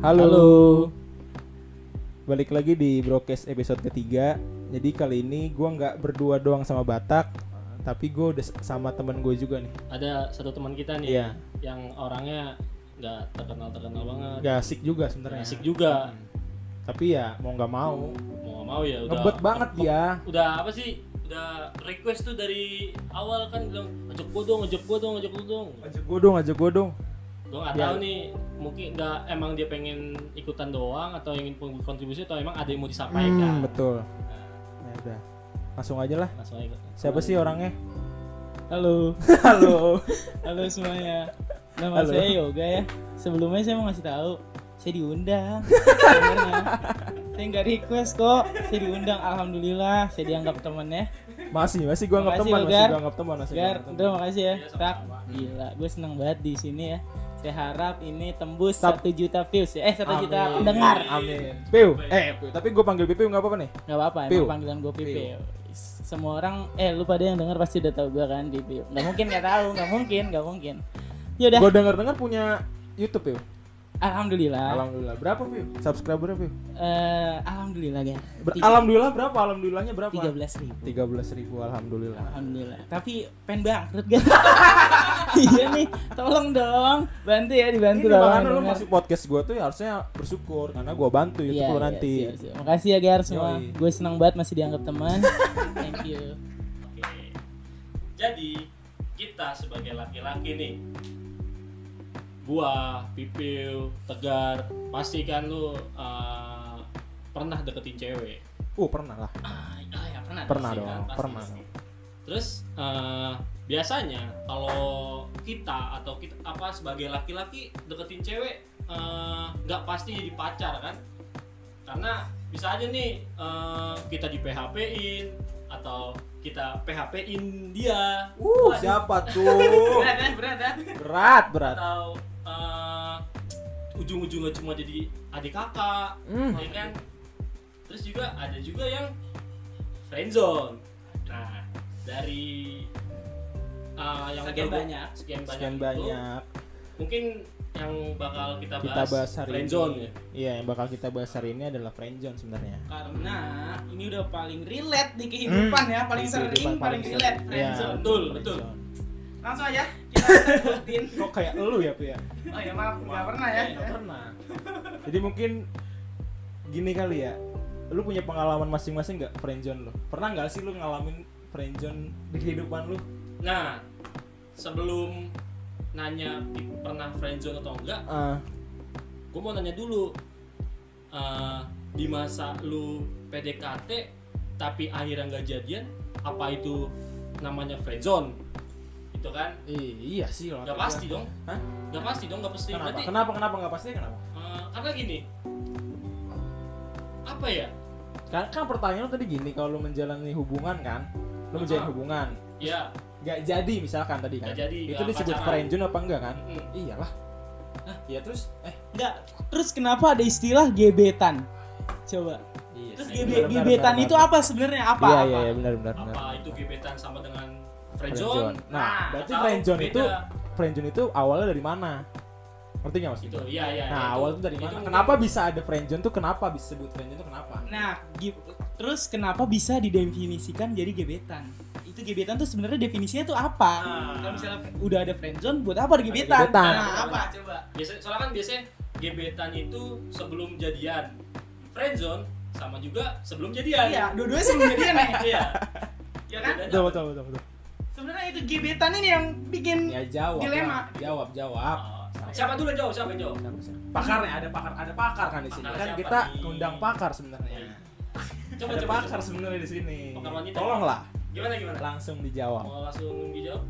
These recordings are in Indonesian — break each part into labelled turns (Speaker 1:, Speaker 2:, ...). Speaker 1: Halo.
Speaker 2: Halo.
Speaker 1: Balik lagi di Brokes episode ketiga. Jadi kali ini gua nggak berdua doang sama Batak, tapi gua udah s- sama teman gue juga nih.
Speaker 2: Ada satu teman kita nih
Speaker 1: Iya. Hmm.
Speaker 2: yang orangnya nggak terkenal terkenal banget,
Speaker 1: Gak asik juga sebenarnya.
Speaker 2: asik juga.
Speaker 1: Tapi ya mau nggak mau.
Speaker 2: Mau nggak mau ya udah.
Speaker 1: Hmm. Ngebet banget dia.
Speaker 2: Udah apa sih? Udah request tuh dari awal kan bilang ngajak gua dong, ngajak gua dong, ngajak gua dong.
Speaker 1: Ajak gue dong, ajak gue dong.
Speaker 2: Gua
Speaker 1: Ya.
Speaker 2: nggak tahu nih mungkin nggak emang dia pengen ikutan doang atau ingin kontribusi atau emang ada yang mau
Speaker 1: Hmm,
Speaker 2: disampaikan.
Speaker 1: betul.
Speaker 2: Nah,
Speaker 1: Ya udah. Langsung aja lah.
Speaker 2: langsung aja.
Speaker 1: Siapa sih orangnya?
Speaker 3: Halo,
Speaker 1: Halo.
Speaker 3: halo semuanya. Nama
Speaker 1: Halo.
Speaker 3: saya Yoga ya. Sebelumnya saya mau ngasih tahu, saya diundang. Sebenarnya. saya nggak request kok, saya diundang. Alhamdulillah, saya dianggap teman ya.
Speaker 1: Masih, masih gua anggap
Speaker 3: Makasih,
Speaker 1: teman, masih
Speaker 3: Yogar.
Speaker 1: gua anggap teman, masih gua
Speaker 3: Gar,
Speaker 1: anggap teman.
Speaker 3: udah makasih ya.
Speaker 2: Iya,
Speaker 3: Tak,
Speaker 2: sama-sama.
Speaker 3: gila, gue seneng banget di sini ya. Saya harap ini tembus
Speaker 1: Tap.
Speaker 3: satu juta views ya. Eh, satu
Speaker 1: Amin.
Speaker 3: juta pendengar.
Speaker 1: Amin. Piu, eh, Piu. tapi gue panggil Piu nggak apa-apa nih.
Speaker 3: Gak apa-apa,
Speaker 1: Piu.
Speaker 3: emang panggilan gue Pipi. Semua orang, eh lu pada yang denger pasti udah tahu gue kan Pipi. Gak mungkin gak tahu, gak mungkin, gak mungkin. Yaudah,
Speaker 1: Gue denger-dengar punya YouTube, Piu.
Speaker 3: alhamdulillah.
Speaker 1: Alhamdulillah. Berapa, Piu? Subscribernya, Piu?
Speaker 3: Eh, alhamdulillah ya.
Speaker 1: Ber- alhamdulillah berapa? Alhamdulillahnya berapa? Iya.
Speaker 3: tiga belas ribu
Speaker 1: 13 ribu alhamdulillah.
Speaker 3: alhamdulillah tapi pengen bangkrut guys iya nih tolong dong bantu ya
Speaker 1: Ini
Speaker 3: dibantu dong
Speaker 1: makanya lu
Speaker 3: dengar.
Speaker 1: masuk podcast gua tuh ya harusnya bersyukur karena gua bantu
Speaker 3: Iya,
Speaker 1: YouTube
Speaker 3: iya,
Speaker 1: lu nanti.
Speaker 3: siap, siap. makasih ya Gar semua
Speaker 1: Yoi.
Speaker 3: gue senang banget masih dianggap teman thank you
Speaker 2: Oke. Jadi kita sebagai laki-laki nih, gua, Pipil, Tegar, pasti kan lu uh, pernah deketin cewek.
Speaker 1: Uh, pernah lah.
Speaker 2: Ah, ah, ya pernah.
Speaker 1: Pernah
Speaker 2: pasti
Speaker 1: dong,
Speaker 2: pasti,
Speaker 1: pernah.
Speaker 2: pasti. Terus uh, biasanya kalau kita atau kita apa sebagai laki-laki deketin cewek uh, nggak pasti jadi pacar kan? Karena bisa aja nih uh, kita di PHP-in atau kita PHP-in dia.
Speaker 1: Uh,
Speaker 2: Waduh.
Speaker 1: siapa tuh?
Speaker 2: Berat kan? Berat kan?
Speaker 1: berat, berat.
Speaker 2: Atau uh, ujung-ujungnya cuma jadi adik kakak,
Speaker 1: Hmm.
Speaker 2: ya kan? Terus juga ada juga yang friendzone. Nah, dari uh, yang
Speaker 3: Sekian
Speaker 2: baru-
Speaker 3: banyak.
Speaker 2: sekian banyak,
Speaker 1: Sekian
Speaker 2: itu,
Speaker 1: banyak
Speaker 2: mungkin yang bakal kita bahas,
Speaker 1: kita bahas hari
Speaker 2: friendzone
Speaker 1: ini.
Speaker 2: ya.
Speaker 1: Iya, yang bakal kita bahas hari ini adalah friendzone sebenarnya.
Speaker 3: karena ini udah paling relate di kehidupan ya paling
Speaker 1: Di
Speaker 3: sering
Speaker 1: kehidupan
Speaker 3: paling, relate
Speaker 1: Iya,
Speaker 3: friendzone
Speaker 2: Betul, betul.
Speaker 1: friendzone.
Speaker 3: langsung aja kita sebutin
Speaker 1: Kok kayak elu ya, Pia?
Speaker 3: oh ya maaf gak pernah ya
Speaker 2: ya.
Speaker 1: Nggak pernah. Jadi mungkin gini kali ya. Lu punya pengalaman masing-masing nggak friendzone lu? Pernah nggak sih lu ngalamin friendzone di kehidupan lu?
Speaker 2: Nah, sebelum nanya di- pernah friendzone atau enggak,
Speaker 1: Ah,
Speaker 2: gue mau nanya dulu eh, di masa lu PDKT tapi akhirnya nggak jadian apa itu namanya friendzone itu kan
Speaker 1: i- iya sih
Speaker 2: nggak Ya pasti dong
Speaker 1: Hah?
Speaker 2: nggak pasti dong nggak pasti
Speaker 1: Kenapa?
Speaker 2: berarti
Speaker 1: Kenapa kenapa nggak pasti kenapa?
Speaker 2: eh, karena gini apa ya
Speaker 1: Kan, kan pertanyaan lu tadi gini kalau lu menjalani hubungan kan, lu menjalin
Speaker 2: Ah.
Speaker 1: hubungan,
Speaker 2: ya
Speaker 1: nggak jadi misalkan tadi kan.
Speaker 2: Nggak jadi,
Speaker 1: Itu
Speaker 2: nggak
Speaker 1: disebut
Speaker 2: pacaran.
Speaker 1: friendzone apa enggak kan?
Speaker 2: mm,
Speaker 1: Iyalah. Nah, ya terus eh
Speaker 3: Enggak. Terus kenapa ada istilah gebetan? Coba.
Speaker 1: iya.
Speaker 3: Terus
Speaker 2: Iya,
Speaker 3: gebe-
Speaker 2: benar,
Speaker 1: benar,
Speaker 3: gebetan
Speaker 1: benar,
Speaker 3: itu
Speaker 1: benar.
Speaker 3: apa sebenarnya? Apa?
Speaker 1: Iya
Speaker 3: apa?
Speaker 1: iya iya, benar benar benar.
Speaker 2: apa itu gebetan sama dengan
Speaker 1: Friendzone.
Speaker 2: friendzone
Speaker 1: Nah, berarti
Speaker 2: atau
Speaker 1: friendzone itu
Speaker 2: beda.
Speaker 1: friendzone itu awalnya dari mana? Ngerti nggak maksud
Speaker 2: gitu
Speaker 1: gue?
Speaker 2: ya ya
Speaker 1: Nah,
Speaker 2: itu-
Speaker 1: awal tuh dari
Speaker 2: itu
Speaker 1: mana?
Speaker 2: mungkin-
Speaker 1: Kenapa bisa ada friendzone tuh? Kenapa bisa sebut friendzone tuh kenapa?
Speaker 3: Nah, gi- terus kenapa bisa didefinisikan jadi gebetan? Itu gebetan tuh sebenarnya definisinya tuh apa?
Speaker 2: Ah.
Speaker 3: Kalau misalnya udah ada friendzone, buat apa ada gebetan?
Speaker 1: gebetan.
Speaker 3: Nah, apa coba?
Speaker 2: biasa soalnya kan biasanya gebetan itu sebelum jadian friendzone sama juga sebelum jadian
Speaker 3: Iya, dua-duanya sebelum jadian nih.
Speaker 2: iya
Speaker 3: Ya kan?
Speaker 2: Bedanya
Speaker 1: Betul
Speaker 2: apa?
Speaker 1: betul betul betul.
Speaker 3: Sebenarnya itu gebetan ini yang bikin
Speaker 1: Ya jawab.
Speaker 3: Dilema.
Speaker 1: lah. Jawab jawab.
Speaker 2: Oh, siapa dulu yang jawab siapa yang jawab
Speaker 1: Pakarnya ada pakar ada pakar kan di sini.
Speaker 2: Pakar
Speaker 1: Kan
Speaker 2: siapa
Speaker 1: kita
Speaker 2: nih? Iya.
Speaker 1: ngundang pakar sebenarnya.
Speaker 2: coba
Speaker 1: ada
Speaker 2: coba,
Speaker 1: pakar
Speaker 2: coba.
Speaker 1: sebenarnya di sini.
Speaker 2: Pakar wanita.
Speaker 1: Tolonglah
Speaker 2: gimana gimana
Speaker 1: langsung dijawab.
Speaker 2: mau langsung dijawab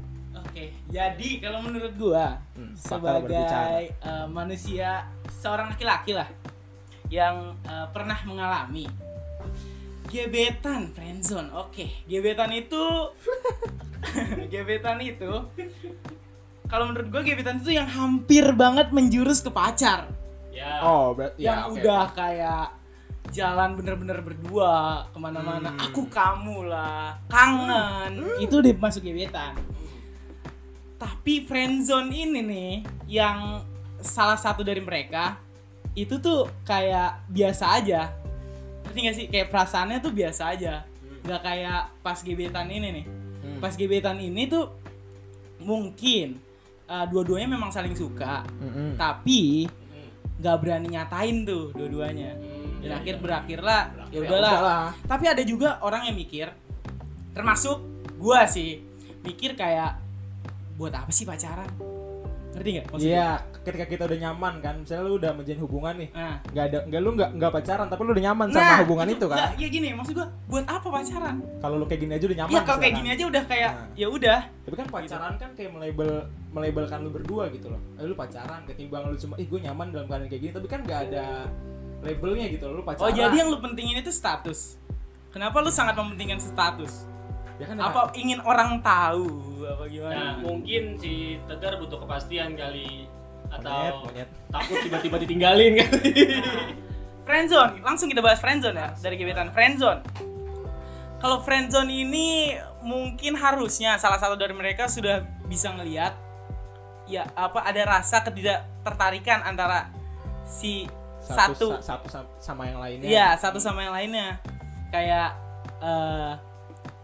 Speaker 3: Oke, jadi kalau menurut gua
Speaker 1: Hmm, pakar berbicara.
Speaker 3: sebagai eh, manusia seorang laki-laki lah yang eh, pernah mengalami gebetan friendzone. Oke, gebetan itu gebetan itu kalau menurut gua gebetan itu yang hampir banget menjurus ke pacar.
Speaker 2: ya
Speaker 1: Oh, berarti
Speaker 3: yang udah kayak jalan bener-bener berdua kemana-mana
Speaker 1: Hmm.
Speaker 3: aku kamu lah kangen
Speaker 2: Hmm.
Speaker 3: itu udah masuk gebetan tapi friendzone ini nih yang salah satu dari mereka itu tuh kayak biasa aja ngerti gak sih kayak perasaannya tuh biasa aja nggak kayak pas gebetan ini nih
Speaker 2: Hmm.
Speaker 3: pas gebetan ini tuh mungkin eh, dua-duanya memang saling suka tapi
Speaker 2: Hmm.
Speaker 3: nggak berani nyatain tuh dua-duanya
Speaker 2: Hmm.
Speaker 1: Iya,
Speaker 3: dan akhir berakhirlah
Speaker 2: Berakhir
Speaker 3: ya
Speaker 2: ya
Speaker 3: udahlah tapi ada juga orang yang mikir termasuk gua sih mikir kayak buat apa sih pacaran ngerti nggak maksudnya
Speaker 1: Iya, ketika kita udah nyaman kan, misalnya lu udah menjalin hubungan nih,
Speaker 3: nah
Speaker 1: nggak ada, nggak lu nggak nggak pacaran, tapi lu udah nyaman sama
Speaker 3: Nah,
Speaker 1: hubungan itu kan.
Speaker 3: nggak, ya gini maksud gua buat apa pacaran
Speaker 1: Kalau lu kayak gini aja udah nyaman.
Speaker 3: Iya kalau kayak
Speaker 1: misalkan.
Speaker 3: gini aja udah kayak
Speaker 1: Nah.
Speaker 3: ya udah
Speaker 1: Tapi kan pacaran kan kayak melebel melebelkan lu berdua gitu loh. Eh, lu pacaran ketimbang lu cuma ih gue nyaman dalam keadaan kayak gini, tapi kan nggak ada labelnya gitu loh. Lu
Speaker 3: oh
Speaker 1: pacaran.
Speaker 3: jadi yang lu pentingin itu status kenapa lu sangat mementingkan status
Speaker 1: ya kan
Speaker 3: apa ingin orang tahu apa gimana
Speaker 2: Nah, mungkin si Tegar butuh kepastian kali
Speaker 1: Monyet,
Speaker 2: atau
Speaker 1: monyet.
Speaker 2: takut tiba-tiba ditinggalin kan? kali.
Speaker 3: friendzone langsung kita bahas friendzone ya dari gebetan friendzone kalau friendzone ini mungkin harusnya salah satu dari mereka sudah bisa ngelihat ya apa ada rasa ketidaktertarikan antara si satu,
Speaker 1: sa- satu sa- sama yang lainnya.
Speaker 3: Iya, satu sama yang lainnya. Kayak eh,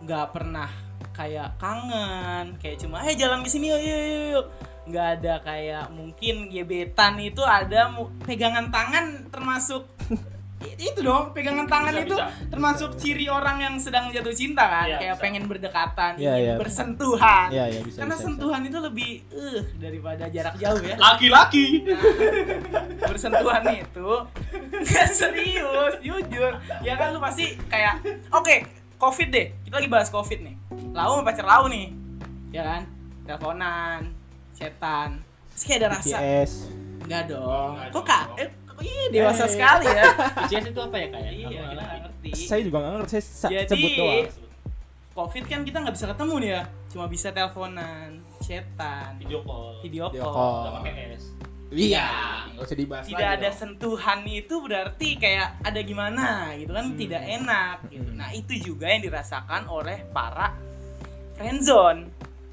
Speaker 3: nggak pernah kayak kangen, kayak cuma eh jalan ke sini yuk yuk yuk, yuk." Nggak ada kayak mungkin gebetan itu ada mu- pegangan tangan termasuk I- itu dong pegangan tangan
Speaker 2: Bisa,
Speaker 3: itu
Speaker 2: bisa.
Speaker 3: termasuk ciri orang yang sedang jatuh cinta kan
Speaker 2: Iya,
Speaker 3: kayak
Speaker 2: bisa.
Speaker 3: pengen berdekatan
Speaker 1: Iya,
Speaker 3: ingin
Speaker 1: iya.
Speaker 3: bersentuhan
Speaker 1: Iya, iya bisa.
Speaker 3: karena
Speaker 1: bisa, bisa.
Speaker 3: sentuhan itu lebih eh daripada jarak jauh ya
Speaker 2: Laki-laki.
Speaker 3: bersentuhan itu nggak serius jujur ya kan lu pasti kayak oke covid deh kita lagi bahas covid nih lau sama pacar lau nih ya kan teleponan setan terus kayak ada rasa
Speaker 1: BTS.
Speaker 3: nggak dong
Speaker 2: Nggak
Speaker 3: kok
Speaker 2: dong. Iya,
Speaker 3: kak eh, kok- ih, dewasa
Speaker 1: Eh.
Speaker 3: sekali ya
Speaker 2: CS itu apa ya kayak?
Speaker 3: iya kita nggak ngerti
Speaker 1: Saya juga nggak ngerti, saya sa-
Speaker 3: Jadi-
Speaker 1: sebut doang.
Speaker 3: covid kan kita nggak bisa ketemu nih ya cuma bisa teleponan setan
Speaker 2: Video call.
Speaker 3: video
Speaker 1: Video
Speaker 3: call
Speaker 2: Nggak pakai S.
Speaker 1: Iya, nggak usah dibahas
Speaker 3: tidak
Speaker 1: lagi
Speaker 3: ada
Speaker 1: dong.
Speaker 3: sentuhan itu berarti kayak ada gimana gitu kan tidak enak gitu.
Speaker 1: Nah. Hmm.
Speaker 3: Nah, itu juga yang dirasakan oleh para friendzone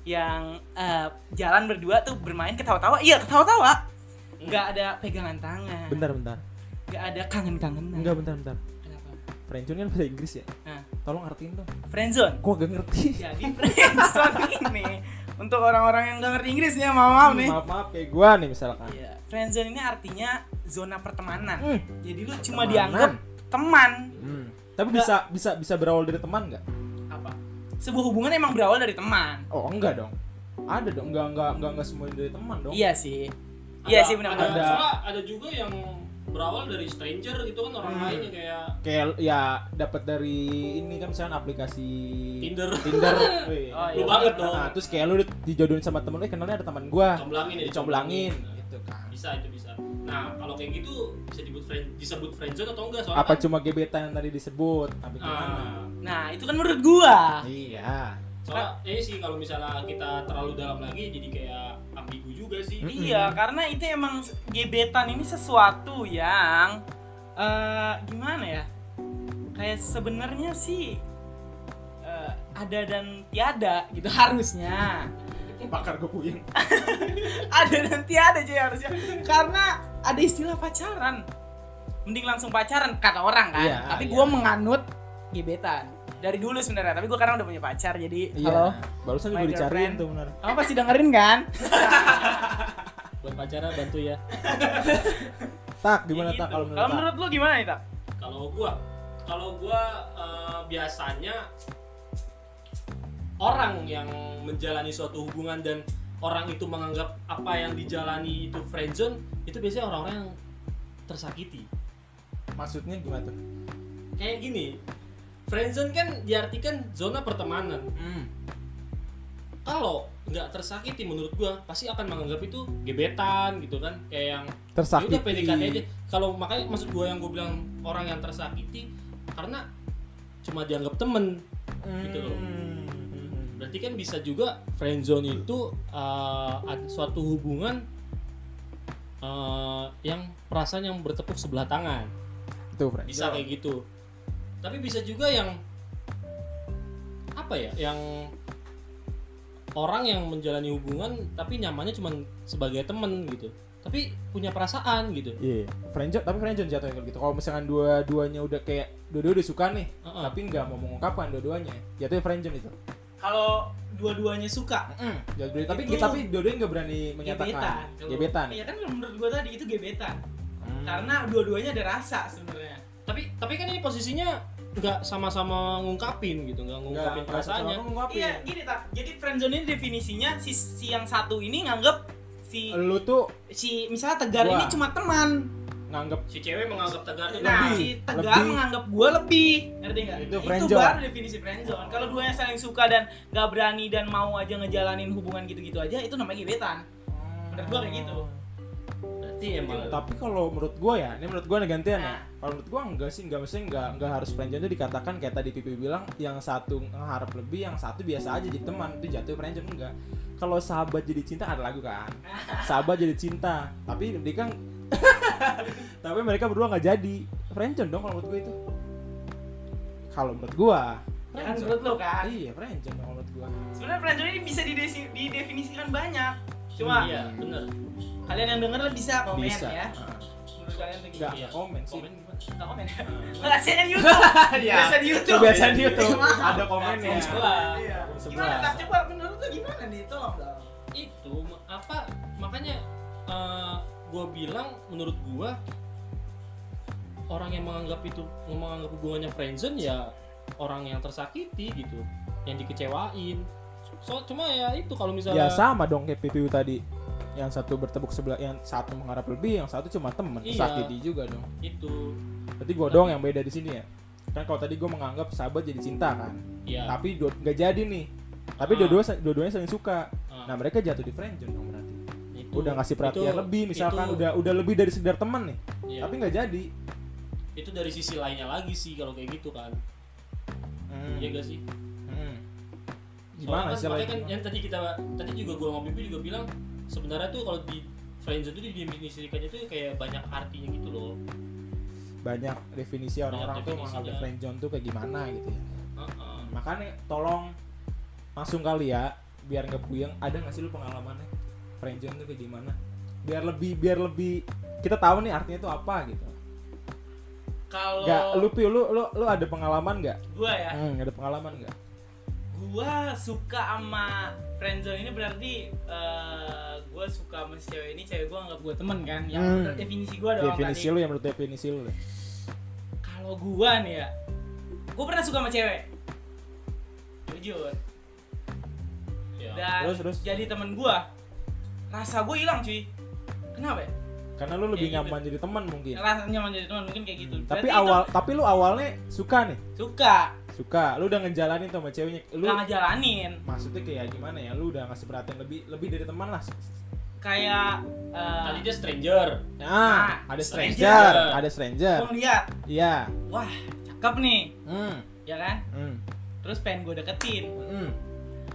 Speaker 3: yang eh, jalan berdua tuh bermain ketawa-tawa. Iya, ketawa-tawa.
Speaker 1: Hmm.
Speaker 3: Nggak ada pegangan tangan.
Speaker 1: Bentar, bentar.
Speaker 3: Nggak ada kangen-kangenan.
Speaker 1: Enggak, bentar, bentar.
Speaker 3: Kenapa?
Speaker 1: Friendzone kan bahasa Inggris ya.
Speaker 3: Nah,
Speaker 1: Tolong artiin dong.
Speaker 3: friendzone.
Speaker 1: Gua gak ngerti.
Speaker 3: Jadi friendzone ini untuk orang-orang yang nggak ngerti Inggris nih, maaf, maaf nih.
Speaker 1: maaf, maaf kayak gua nih misalkan.
Speaker 3: Iya, friendzone ini artinya zona pertemanan.
Speaker 1: Hmm.
Speaker 3: Jadi lu cuma
Speaker 1: Pertemanan.
Speaker 3: dianggap teman.
Speaker 1: Hmm. Tapi
Speaker 3: Nggak.
Speaker 1: bisa bisa bisa berawal dari teman nggak?
Speaker 3: apa sebuah hubungan emang berawal dari teman
Speaker 1: Oh enggak dong. Ada dong, enggak enggak enggak enggak semuanya dari teman dong.
Speaker 3: iya sih iya sih benar
Speaker 2: Ada,
Speaker 3: benar
Speaker 1: Ada.
Speaker 2: soalnya ada juga yang berawal dari stranger gitu kan orang
Speaker 1: Hmm.
Speaker 2: lain yang kayak
Speaker 1: Kayak ya dapat dari ini kan misalnya aplikasi
Speaker 2: Tinder.
Speaker 1: Tinder. Wih,
Speaker 3: Oh,
Speaker 2: Lu
Speaker 3: iya.
Speaker 2: banget dong.
Speaker 1: Nah, terus kayak lu dijodohin sama temen lu, eh, kenalnya ada teman gua.
Speaker 2: Comblangin ya.
Speaker 1: Dicomblangin
Speaker 2: dicomblangin.
Speaker 1: gitu kan.
Speaker 2: Bisa itu bisa. Nah, kalau kayak gitu bisa disebut friend disebut friendzone atau enggak soalnya
Speaker 1: Apa
Speaker 2: kan,
Speaker 1: cuma gebetan yang tadi disebut? Tapi gimana?
Speaker 2: ah,
Speaker 3: nah itu kan menurut gua
Speaker 1: Iya.
Speaker 2: soalnya ini sih kalau misalnya kita terlalu dalam lagi jadi kayak ambigu juga sih.
Speaker 1: Mm-mm.
Speaker 3: iya karena itu emang se- gebetan ini sesuatu yang eh gimana ya kayak sebenarnya sih eh, ada dan tiada gitu harusnya
Speaker 1: Bakar gue puyeng.
Speaker 3: ada dan tiada cuy harusnya karena ada istilah pacaran mending langsung pacaran kata orang kan
Speaker 1: Iya,
Speaker 3: tapi
Speaker 1: iya.
Speaker 3: gua menganut gebetan dari dulu sebenarnya tapi gua sekarang udah punya pacar jadi
Speaker 1: Iya.
Speaker 3: halo
Speaker 1: Barusan
Speaker 3: My
Speaker 1: gue dicariin
Speaker 3: girlfriend.
Speaker 1: tuh benar.
Speaker 3: kamu pasti dengerin kan
Speaker 2: Buat pacaran bantu ya. Iya
Speaker 1: Tak, gimana
Speaker 3: Gitu.
Speaker 1: tak kalau
Speaker 3: kalau
Speaker 1: menurut tak?
Speaker 3: menurut lu gimana nih tak
Speaker 2: Kalau gua kalau gua eh, biasanya orang yang menjalani suatu hubungan dan orang itu menganggap apa yang dijalani itu friendzone itu biasanya orang-orang yang tersakiti.
Speaker 1: Maksudnya gimana tuh?
Speaker 2: Kayak gini, friendzone kan diartikan zona pertemanan. Kalau nggak tersakiti menurut gua pasti akan menganggap itu gebetan gitu kan, kayak yang Ya
Speaker 1: Tersakiti.
Speaker 2: udah PDKT aja. Kalau makanya maksud gue yang gue bilang orang yang tersakiti karena cuma dianggap temen. Gitu loh.
Speaker 1: Hmm.
Speaker 2: Berarti kan bisa juga friendzone itu eh, ada suatu hubungan eh, yang perasaan yang bertepuk sebelah tangan.
Speaker 1: Itu friend.
Speaker 2: Bisa kayak gitu. Tapi bisa juga yang apa ya? Yang orang yang menjalani hubungan tapi nyamannya cuma sebagai temen gitu tapi punya perasaan gitu
Speaker 1: Iya. Friendzone, tapi friendzone jatuhnya kalau gitu. Kalau misalkan dua-duanya udah kayak dua-dua udah suka nih,
Speaker 2: Heeh.
Speaker 1: tapi nggak mau mengungkapkan dua-duanya, jatuhnya friendzone itu.
Speaker 3: Kalau dua-duanya suka,
Speaker 1: Jatuh, tapi
Speaker 3: Itu-
Speaker 1: tapi dua-duanya nggak berani menyatakan.
Speaker 3: gebetan. Kalau-
Speaker 1: Gebetan. Hmm.
Speaker 3: Iya kan kalau menurut gua tadi itu gebetan. Karena dua-duanya ada rasa sebenarnya.
Speaker 2: tapi tapi kan ini posisinya nggak sama-sama ngungkapin gitu nggak ngungkapin perasaannya
Speaker 1: Iya.
Speaker 3: Iya, gini tak. Jadi friendzone ini definisinya si, si yang satu ini nganggep si
Speaker 1: Lu tuh
Speaker 3: si misalnya Tegar
Speaker 1: Gua.
Speaker 3: ini cuma teman.
Speaker 1: nganggep
Speaker 2: si cewek menganggap tegarnya
Speaker 3: Nah,
Speaker 1: Lebih.
Speaker 3: si Tegar
Speaker 1: Lebih.
Speaker 3: menganggap gua lebih. Ngerti nggak?
Speaker 1: Itu friendzone.
Speaker 3: baru definisi friendzone. Kalau duanya saling suka dan nggak berani dan mau aja ngejalanin hubungan gitu-gitu aja, itu namanya gebetan. Menurut gua kayak gitu.
Speaker 2: berarti emang
Speaker 1: tapi kalau menurut gue ya ini menurut gue nih gantian ya
Speaker 3: Nah.
Speaker 1: kalau menurut gue enggak sih enggak maksudnya enggak enggak harus friendzone itu dikatakan kayak tadi pipi bilang yang satu ngeharap lebih yang satu biasa aja jadi teman itu jatuh friendzone enggak kalau sahabat jadi cinta ada lagu kan sahabat jadi cinta tapi mereka tapi mereka berdua nggak jadi friendzone dong kalau menurut gue itu kalau menurut gue
Speaker 3: Ya kan menurut lo kan.
Speaker 1: iya friendzone dong kalau menurut gue
Speaker 3: Sebenarnya friendzone ini bisa didesi- didefinisikan banyak. Cuma
Speaker 2: iya bener
Speaker 3: kalian yang denger lo bisa komen
Speaker 1: bisa
Speaker 3: ya.
Speaker 1: Heeh.
Speaker 3: Menurut kalian tuh
Speaker 1: enggak
Speaker 2: Iya.
Speaker 1: enggak komen sih
Speaker 2: komen gimana?
Speaker 3: Nggak komen ya? Kasihan YouTube. Biasa di YouTube.
Speaker 1: Iya. kebiasaan di YouTube
Speaker 3: Maaf.
Speaker 1: ada komen ya
Speaker 3: Iya. Gimana
Speaker 1: Sebelas.
Speaker 3: tak coba menurut lo gimana nih? Tolong dong.
Speaker 2: itu ma- apa makanya gue bilang menurut gue orang yang menganggap itu yang menganggap hubungannya friendzone ya orang yang tersakiti gitu yang dikecewain so cuma ya itu kalau misalnya
Speaker 1: Ya sama dong kayak PPU tadi. Yang satu bertepuk sebelah, yang satu mengharap lebih, yang satu cuma temen.
Speaker 2: Iya.
Speaker 1: Sakiti juga dong.
Speaker 2: itu
Speaker 1: Berarti gua doang yang beda di sini ya. Kan kalau tadi gua menganggap sahabat jadi cinta kan.
Speaker 2: ya
Speaker 1: Tapi dua- nggak jadi nih. Tapi
Speaker 2: Ah.
Speaker 1: dua-dua dua-duanya saling suka.
Speaker 2: Ah.
Speaker 1: Nah, mereka jatuh di friendzone dong berarti.
Speaker 2: itu
Speaker 1: Udah ngasih perhatian
Speaker 2: itu-
Speaker 1: lebih misalkan
Speaker 2: itu-
Speaker 1: udah udah lebih dari sekedar teman nih.
Speaker 2: iya.
Speaker 1: Tapi nggak jadi.
Speaker 2: itu dari sisi lainnya lagi sih kalau kayak gitu kan
Speaker 1: Hmm.
Speaker 2: ya gak sih
Speaker 1: Hmm.
Speaker 2: Soalnya
Speaker 1: Gimana
Speaker 2: kan,
Speaker 1: sih
Speaker 2: makanya
Speaker 1: lain?
Speaker 2: kan yang tadi kita tadi juga gua sama Bibi juga bilang sebenarnya tuh kalau di friendzone itu didefinisikannya tuh kayak banyak artinya gitu loh
Speaker 1: Banyak definisi orang-orang tuh menganggap
Speaker 2: definisinya.
Speaker 1: friendzone tuh kayak gimana gitu ya.
Speaker 2: Heeh.
Speaker 1: makanya tolong langsung kali ya biar nggak puyeng ada nggak sih lu pengalamannya friendzone tuh kayak gimana biar lebih biar lebih kita tahu nih artinya tuh apa gitu
Speaker 3: Kalau
Speaker 1: nggak lu Pi, lu lu lu ada pengalaman nggak
Speaker 3: gua ya,
Speaker 1: hmm, ada pengalaman nggak
Speaker 3: gua suka sama friendzone ini berarti eh, gua suka sama si cewek ini cewek gua nggak gua temen kan yang
Speaker 1: Hmm.
Speaker 3: menurut definisi gua doang
Speaker 1: definisi
Speaker 3: tadi
Speaker 1: lu yang menurut definisi lu ya. deh.
Speaker 3: kalau gua nih ya gua pernah suka sama cewek jujur
Speaker 2: Ya.
Speaker 3: dan
Speaker 1: Terus, terus.
Speaker 3: jadi temen gua rasa gua hilang cuy kenapa ya
Speaker 1: karena lu lebih
Speaker 3: Kayak gitu.
Speaker 1: nyaman jadi teman mungkin
Speaker 3: rasanya menjadi teman mungkin kayak gitu
Speaker 1: Iya. Hmm. tapi
Speaker 3: Berarti itu
Speaker 1: awal tapi lu awalnya suka nih
Speaker 3: suka
Speaker 1: suka lu udah ngejalanin tuh sama ceweknya lu
Speaker 3: nggak ngejalanin
Speaker 1: maksudnya kayak gimana ya lu udah ngasih perhatian lebih lebih dari teman lah
Speaker 3: kayak eh,
Speaker 2: tadi dia stranger
Speaker 1: nah,
Speaker 3: Nah,
Speaker 1: ada stranger,
Speaker 2: stranger.
Speaker 1: ada stranger
Speaker 3: gua ngeliat
Speaker 1: iya
Speaker 3: wah cakep nih
Speaker 1: hmm.
Speaker 3: ya kan
Speaker 1: Hmm.
Speaker 3: terus pengen gue deketin
Speaker 1: Hmm.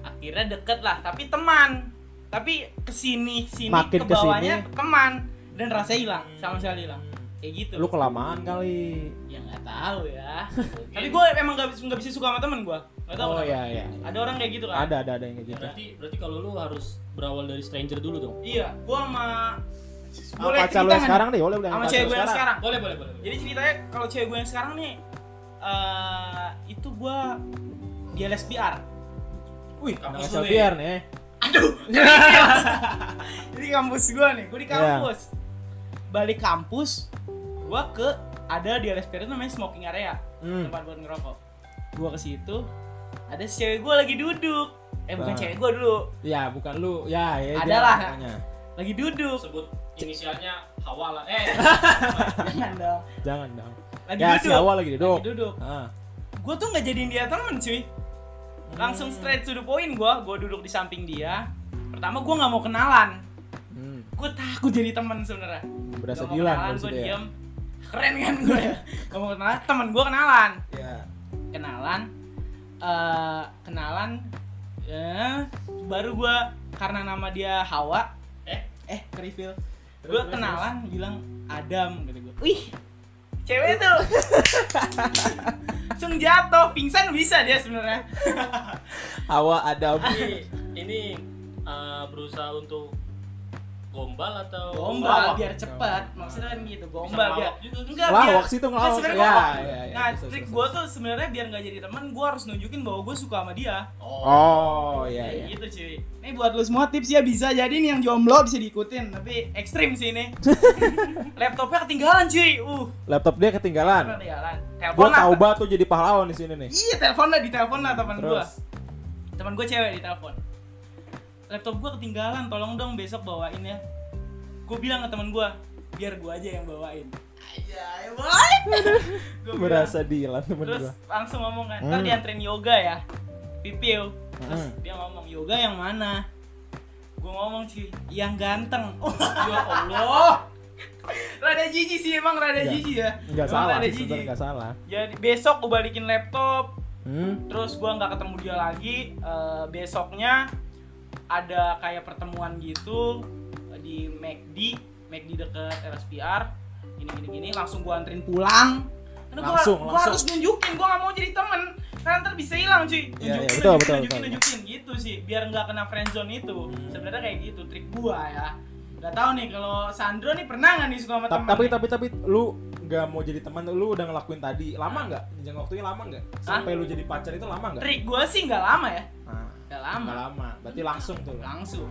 Speaker 3: akhirnya deket lah tapi teman tapi kesini sini
Speaker 1: Makin
Speaker 3: ke bawahnya teman dan rasanya hilang sama sekali hilang kayak gitu
Speaker 1: Lu kelamaan kali.
Speaker 3: ya nggak tahu ya tapi gue emang nggak bisa nggak bisa suka sama teman gue nggak tahu
Speaker 1: Oh
Speaker 3: kenapa.
Speaker 1: iya iya.
Speaker 3: ada orang kayak gitu kan
Speaker 1: Ada ada ada yang kayak gitu.
Speaker 2: berarti berarti kalau lu harus berawal dari stranger dulu dong
Speaker 3: iya gue sama
Speaker 1: Sama
Speaker 3: boleh
Speaker 1: pacar lu
Speaker 3: cerita
Speaker 1: yang
Speaker 3: nggak
Speaker 1: sekarang deh, boleh boleh.
Speaker 3: nih? sama
Speaker 1: pacar
Speaker 3: cewek
Speaker 1: lu
Speaker 3: gue yang sekarang
Speaker 2: boleh boleh boleh
Speaker 3: jadi ceritanya kalau cewek gue yang sekarang nih eh itu gue dia lesbiar
Speaker 1: Wih, anak
Speaker 3: ya?
Speaker 2: Kampus lu nih.
Speaker 1: SLBR nih. eh.
Speaker 3: Jadi kampus gua nih, gua di
Speaker 1: Iya.
Speaker 3: kampus. Balik kampus, gua ke ada di LSPR itu namanya smoking area,
Speaker 1: Hmm.
Speaker 3: tempat buat ngerokok. Gua ke situ, ada si cewek gua lagi duduk. Eh bukan
Speaker 1: Nah.
Speaker 3: cewek gua dulu,
Speaker 1: Ya, bukan lu. Ya, ya
Speaker 3: Ada
Speaker 1: dia
Speaker 3: lah.
Speaker 1: namanya.
Speaker 3: lagi duduk.
Speaker 2: sebut inisialnya Hawa lah eh
Speaker 3: Jangan dong.
Speaker 1: Jangan dong.
Speaker 3: Lagi
Speaker 1: Ya, si
Speaker 3: duduk.
Speaker 1: awal lagi duduk.
Speaker 3: Lagi duduk.
Speaker 1: Ah.
Speaker 3: Gua tuh nggak jadiin dia temen cuy. Langsung
Speaker 1: Hmm.
Speaker 3: straight to the point gua, gua duduk di samping dia. Pertama gua nggak mau kenalan.
Speaker 1: Hmm.
Speaker 3: Gua takut jadi temen sebenarnya.
Speaker 1: Berasa
Speaker 3: Nggak mau
Speaker 1: Dilan
Speaker 3: kenalan,
Speaker 1: dari
Speaker 3: gua
Speaker 1: situ ya.
Speaker 3: diem. Keren kan gue. gak mau kenalan, temen gua kenalan.
Speaker 1: Ya.
Speaker 3: kenalan eh kenalan eh baru gua karena nama dia Hawa
Speaker 2: Eh?
Speaker 3: eh ke reveal
Speaker 1: Terus,
Speaker 3: gua
Speaker 1: terus,
Speaker 3: kenalan bilang Adam gitu gua wih cewek tuh langsung jatuh pingsan bisa dia sebenarnya
Speaker 1: Hawa Adam.
Speaker 2: ini eh, berusaha untuk gombal atau
Speaker 3: gombal
Speaker 2: Lawak?
Speaker 3: biar cepet maksudnya kan gitu
Speaker 2: Oh, Bisa
Speaker 3: gombal biar
Speaker 2: ngelawak juga kan?
Speaker 3: enggak biar
Speaker 1: Lawak sih itu
Speaker 3: Nah,
Speaker 1: ngelawak.
Speaker 3: sebenarnya
Speaker 1: Ya, ya,
Speaker 3: gua-
Speaker 1: ya.
Speaker 3: nah
Speaker 1: Terus,
Speaker 3: trik
Speaker 1: terus,
Speaker 3: gue
Speaker 1: terus.
Speaker 3: tuh sebenarnya biar nggak jadi teman gue harus nunjukin bahwa gue suka sama dia
Speaker 1: Oh, iya
Speaker 3: Kayak
Speaker 1: iya.
Speaker 3: gitu cuy ini buat lu semua tips ya bisa jadi nih yang jomblo bisa diikutin tapi ekstrim sih ini laptopnya ketinggalan cuy uh
Speaker 1: Laptop dia ketinggalan.
Speaker 3: ketinggalan
Speaker 1: Kan. Gua
Speaker 3: telepon lah
Speaker 1: tau banget tuh jadi pahlawan di sini nih.
Speaker 3: iya telepon lah di telepon lah teman gue
Speaker 1: Terus
Speaker 3: teman gue cewek di telepon laptop gue ketinggalan tolong dong besok bawain ya gue bilang ke teman gue biar gue aja yang bawain
Speaker 1: Iya,
Speaker 3: aja bawain Gua bilang.
Speaker 1: berasa dilan temen
Speaker 3: Iya. terus
Speaker 1: gua.
Speaker 3: langsung ngomong kan ntar
Speaker 1: Hmm.
Speaker 3: dianterin yoga ya pipiu terus
Speaker 1: Hmm.
Speaker 3: dia ngomong yoga yang mana gue ngomong cuy yang ganteng oh
Speaker 2: Ya Allah.
Speaker 3: Allah rada jijik sih emang rada
Speaker 1: Iya.
Speaker 3: jijik ya
Speaker 1: Enggak
Speaker 3: Emang
Speaker 1: salah,
Speaker 3: ada
Speaker 1: sih,
Speaker 3: jijik.
Speaker 1: sebenarnya enggak salah.
Speaker 3: jadi besok gue balikin laptop
Speaker 1: Hmm.
Speaker 3: terus gue nggak ketemu dia lagi Eh, besoknya ada kayak pertemuan gitu eh, di McD McD deket RSPR gini gini gini langsung gue anterin pulang karena gue
Speaker 1: Langsung,
Speaker 3: gua
Speaker 1: langsung.
Speaker 3: harus nunjukin gue nggak mau jadi temen karena ntar bisa hilang cuy nunjukin
Speaker 1: Iya, iya,
Speaker 3: nunjukin,
Speaker 1: betul, betul,
Speaker 3: nunjukin,
Speaker 1: betul.
Speaker 3: nunjukin gitu sih biar nggak kena friendzone itu sebenarnya kayak gitu trik gue ya Gak tau nih kalau Sandro nih pernah nggak nih suka sama
Speaker 1: Ta-
Speaker 3: temen
Speaker 1: Tapi tapi tapi lu nggak mau jadi teman, lu udah ngelakuin tadi
Speaker 3: Ah.
Speaker 1: lama nggak? Jenjang waktunya lama nggak? Sampai lu jadi pacar itu lama nggak?
Speaker 3: trik gue sih nggak lama ya
Speaker 1: Nah,
Speaker 3: nggak
Speaker 1: nggak
Speaker 3: lama
Speaker 1: lama. Berarti langsung tuh.
Speaker 3: langsung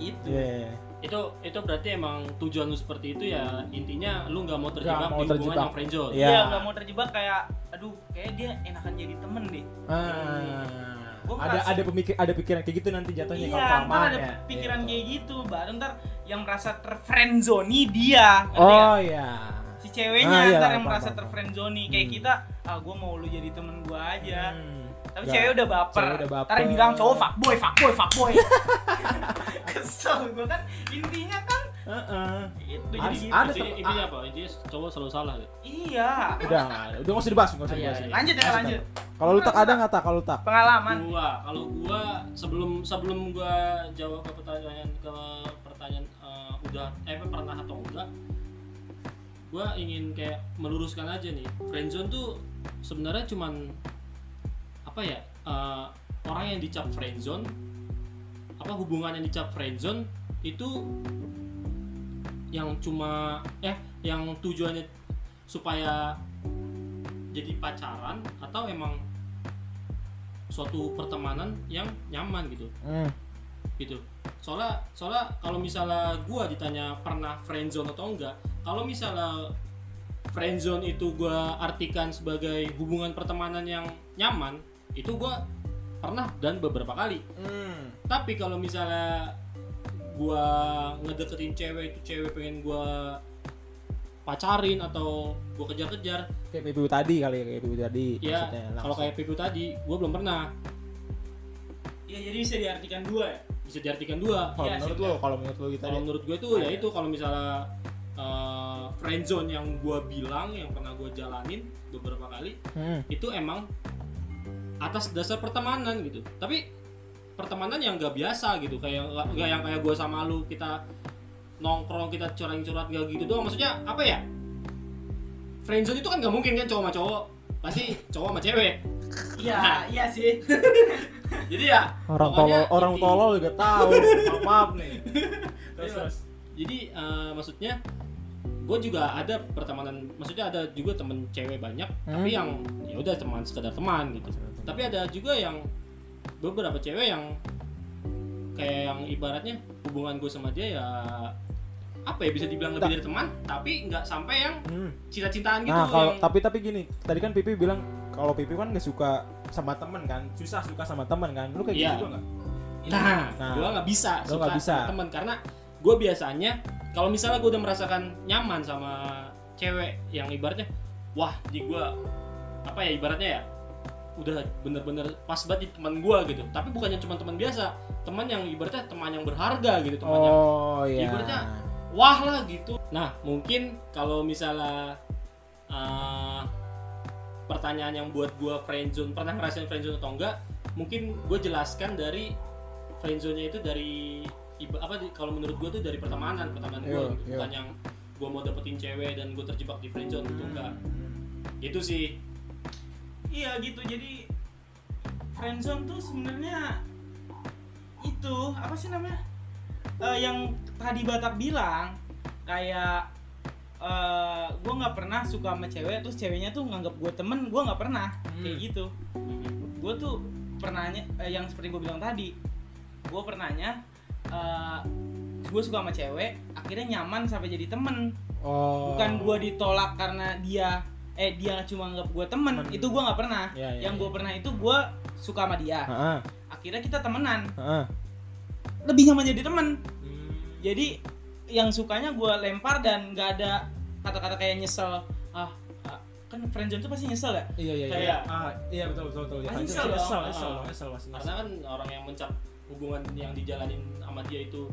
Speaker 3: gitu
Speaker 1: Iya.
Speaker 2: itu itu berarti emang tujuan lu seperti itu ya intinya lu nggak mau terjebak
Speaker 1: Nggak mau
Speaker 2: di hubungan
Speaker 1: terjebak.
Speaker 2: yang friendzone
Speaker 1: Iya.
Speaker 3: Iya, nggak mau terjebak kayak, aduh, kayak dia enakan jadi temen deh.
Speaker 1: Ah,
Speaker 3: Gua
Speaker 1: ada
Speaker 3: merasa-
Speaker 1: ada pemikir ada pikiran kayak gitu nanti jatuhnya kalau
Speaker 3: iya, ntar
Speaker 1: kelamaan
Speaker 3: ada
Speaker 1: ya.
Speaker 3: pikiran
Speaker 1: Gitu.
Speaker 3: kayak gitu, baru ntar yang merasa terfriendzoni dia, ngerti nggak?
Speaker 1: Oh iya.
Speaker 3: si ceweknya
Speaker 1: Ah, iya,
Speaker 3: ntar
Speaker 1: paham,
Speaker 3: yang merasa
Speaker 1: paham,
Speaker 3: terfriendzoni kayak
Speaker 1: Hmm.
Speaker 3: kita, ah gue mau lu jadi temen gue aja.
Speaker 1: Hmm.
Speaker 3: Iya. Tapi
Speaker 1: Nggak.
Speaker 3: cewek udah baper.
Speaker 1: Cewek udah baper.
Speaker 3: Ntar yang bilang cowok fuckboy, fuckboy, fuckboy. Kesel gue kan, intinya kan
Speaker 1: Heeh.
Speaker 3: itu jadi
Speaker 1: Harus
Speaker 3: gitu.
Speaker 1: ada ah.
Speaker 2: intinya,
Speaker 1: tem-
Speaker 2: intinya apa intinya cowok selalu salah gitu.
Speaker 3: Iya.
Speaker 1: Udah nggak ada. Udah nggak usah dibahas, nggak usah
Speaker 2: Ah, iya,
Speaker 1: dibahas.
Speaker 2: iya.
Speaker 3: Lanjut ya,
Speaker 1: Masuk
Speaker 3: lanjut.
Speaker 1: Kalau lu tak ada nggak tak? Kalau lu tak?
Speaker 3: Pengalaman.
Speaker 2: gua kalau gua sebelum sebelum gua jawab ke pertanyaan ke pertanyaan eh, udah eh pernah atau enggak gua ingin kayak meluruskan aja nih friendzone tuh sebenarnya cuman apa ya eh, orang yang dicap friendzone apa hubungan yang dicap friendzone itu yang cuma eh yang tujuannya supaya jadi pacaran atau emang suatu pertemanan yang nyaman gitu
Speaker 1: Hmm.
Speaker 2: gitu soalnya soalnya kalau misalnya gua ditanya pernah friendzone atau enggak kalau misalnya friendzone itu gua artikan sebagai hubungan pertemanan yang nyaman itu gua pernah dan beberapa kali
Speaker 3: Hmm.
Speaker 2: tapi kalau misalnya gua ngedeketin cewek itu cewek pengen gua pacarin atau gua kejar-kejar
Speaker 1: Kayak PBU tadi kali ya, kayak PBU tadi.
Speaker 2: ya
Speaker 1: maksudnya,
Speaker 2: kalau
Speaker 1: langsung.
Speaker 2: kayak Piku tadi gua belum pernah
Speaker 3: Iya, jadi bisa diartikan dua ya.
Speaker 2: bisa diartikan dua
Speaker 1: kalau
Speaker 3: Iya sih,
Speaker 1: menurut lu, kalau menurut lu gitu
Speaker 2: kalau
Speaker 1: deh.
Speaker 2: menurut gue itu ya itu kalau misalnya eh, friendzone yang gue bilang yang pernah gue jalanin beberapa kali
Speaker 1: Hmm.
Speaker 2: itu emang atas dasar pertemanan gitu tapi pertemanan yang gak biasa gitu kayak nggak yang kayak gue sama lu kita nongkrong kita curang-curang gak gitu doang maksudnya apa ya friendzone itu kan gak mungkin kan cowok sama cowok pasti cowok sama cewek
Speaker 3: Iya, iya sih.
Speaker 2: jadi ya
Speaker 1: Orang
Speaker 2: pokoknya
Speaker 1: tolol, orang
Speaker 2: inti-
Speaker 1: tolol juga tahu. Maaf, maaf nih.
Speaker 2: Terus,
Speaker 1: Iya.
Speaker 2: terus. jadi eh, maksudnya gue juga ada pertemanan maksudnya ada juga temen cewek banyak
Speaker 1: Hmm.
Speaker 2: tapi yang ya udah teman sekedar teman gitu tapi ada juga yang beberapa cewek yang kayak yang ibaratnya hubungan gue sama dia ya apa ya bisa dibilang
Speaker 1: Tak.
Speaker 2: lebih dari teman tapi nggak sampai yang
Speaker 1: Hmm.
Speaker 2: cinta-cintaan gitu
Speaker 1: Nah, kalau
Speaker 2: yang
Speaker 1: tapi tapi gini, tadi kan Pipi bilang kalau Pipi kan gak suka sama temen kan, susah suka sama temen kan. Lu kayak
Speaker 2: Iya.
Speaker 1: gitu juga nggak?
Speaker 2: Nah,
Speaker 1: Nah,
Speaker 2: gue nggak bisa
Speaker 1: lo nggak bisa.
Speaker 2: sama teman karena gue biasanya kalau misalnya gue udah merasakan nyaman sama cewek yang ibaratnya, wah di gue apa ya ibaratnya ya udah bener-bener pas banget di teman gue gitu. Tapi bukannya cuma teman biasa, teman yang ibaratnya teman yang berharga gitu, teman yang
Speaker 1: Oh iya.
Speaker 2: Ibaratnya, wah lah gitu. Nah mungkin kalau misalnya eh, pertanyaan yang buat gua friendzone pernah ngerasain friendzone atau enggak, mungkin gue jelaskan dari friendzone-nya itu dari iba- apa di- kalau menurut gua tuh dari pertemanan pertemanan gue
Speaker 1: Iya, iya.
Speaker 2: bukan yang gua mau dapetin cewek dan gue terjebak di friendzone gitu
Speaker 1: Hmm.
Speaker 2: enggak gitu sih
Speaker 3: Iya gitu jadi friendzone tuh sebenarnya itu apa sih namanya Eh, yang tadi Batak bilang kayak eh gue nggak pernah suka sama cewek terus ceweknya tuh nganggap gue temen gue nggak pernah kayak
Speaker 1: Hmm.
Speaker 3: gitu gue tuh pernahnya eh, yang seperti gue bilang tadi gue pernahnya eh gue suka sama cewek akhirnya nyaman sampai jadi temen
Speaker 1: Oh.
Speaker 3: bukan gue ditolak karena dia eh dia cuma nganggap gue temen
Speaker 1: Temen.
Speaker 3: itu gue nggak pernah
Speaker 1: Ya, ya,
Speaker 3: yang
Speaker 1: ya.
Speaker 3: gue pernah itu gue suka sama dia
Speaker 1: Heeh.
Speaker 3: akhirnya kita temenan
Speaker 1: Heeh.
Speaker 3: lebih nyaman jadi temen jadi yang sukanya gue lempar dan nggak ada kata-kata kayak nyesel ah ah, kan friendzone tuh pasti nyesel ya
Speaker 1: Iya iya iya.
Speaker 2: Kayak-
Speaker 1: Ah, iya betul betul betul. Ya,
Speaker 3: Ah,
Speaker 1: kan,
Speaker 3: nyesel
Speaker 1: itu
Speaker 3: dong.
Speaker 1: nyesel,
Speaker 2: Ah.
Speaker 1: nyesel, dong, nyesel, pasti
Speaker 2: karena kan orang yang mencap hubungan yang dijalanin sama dia itu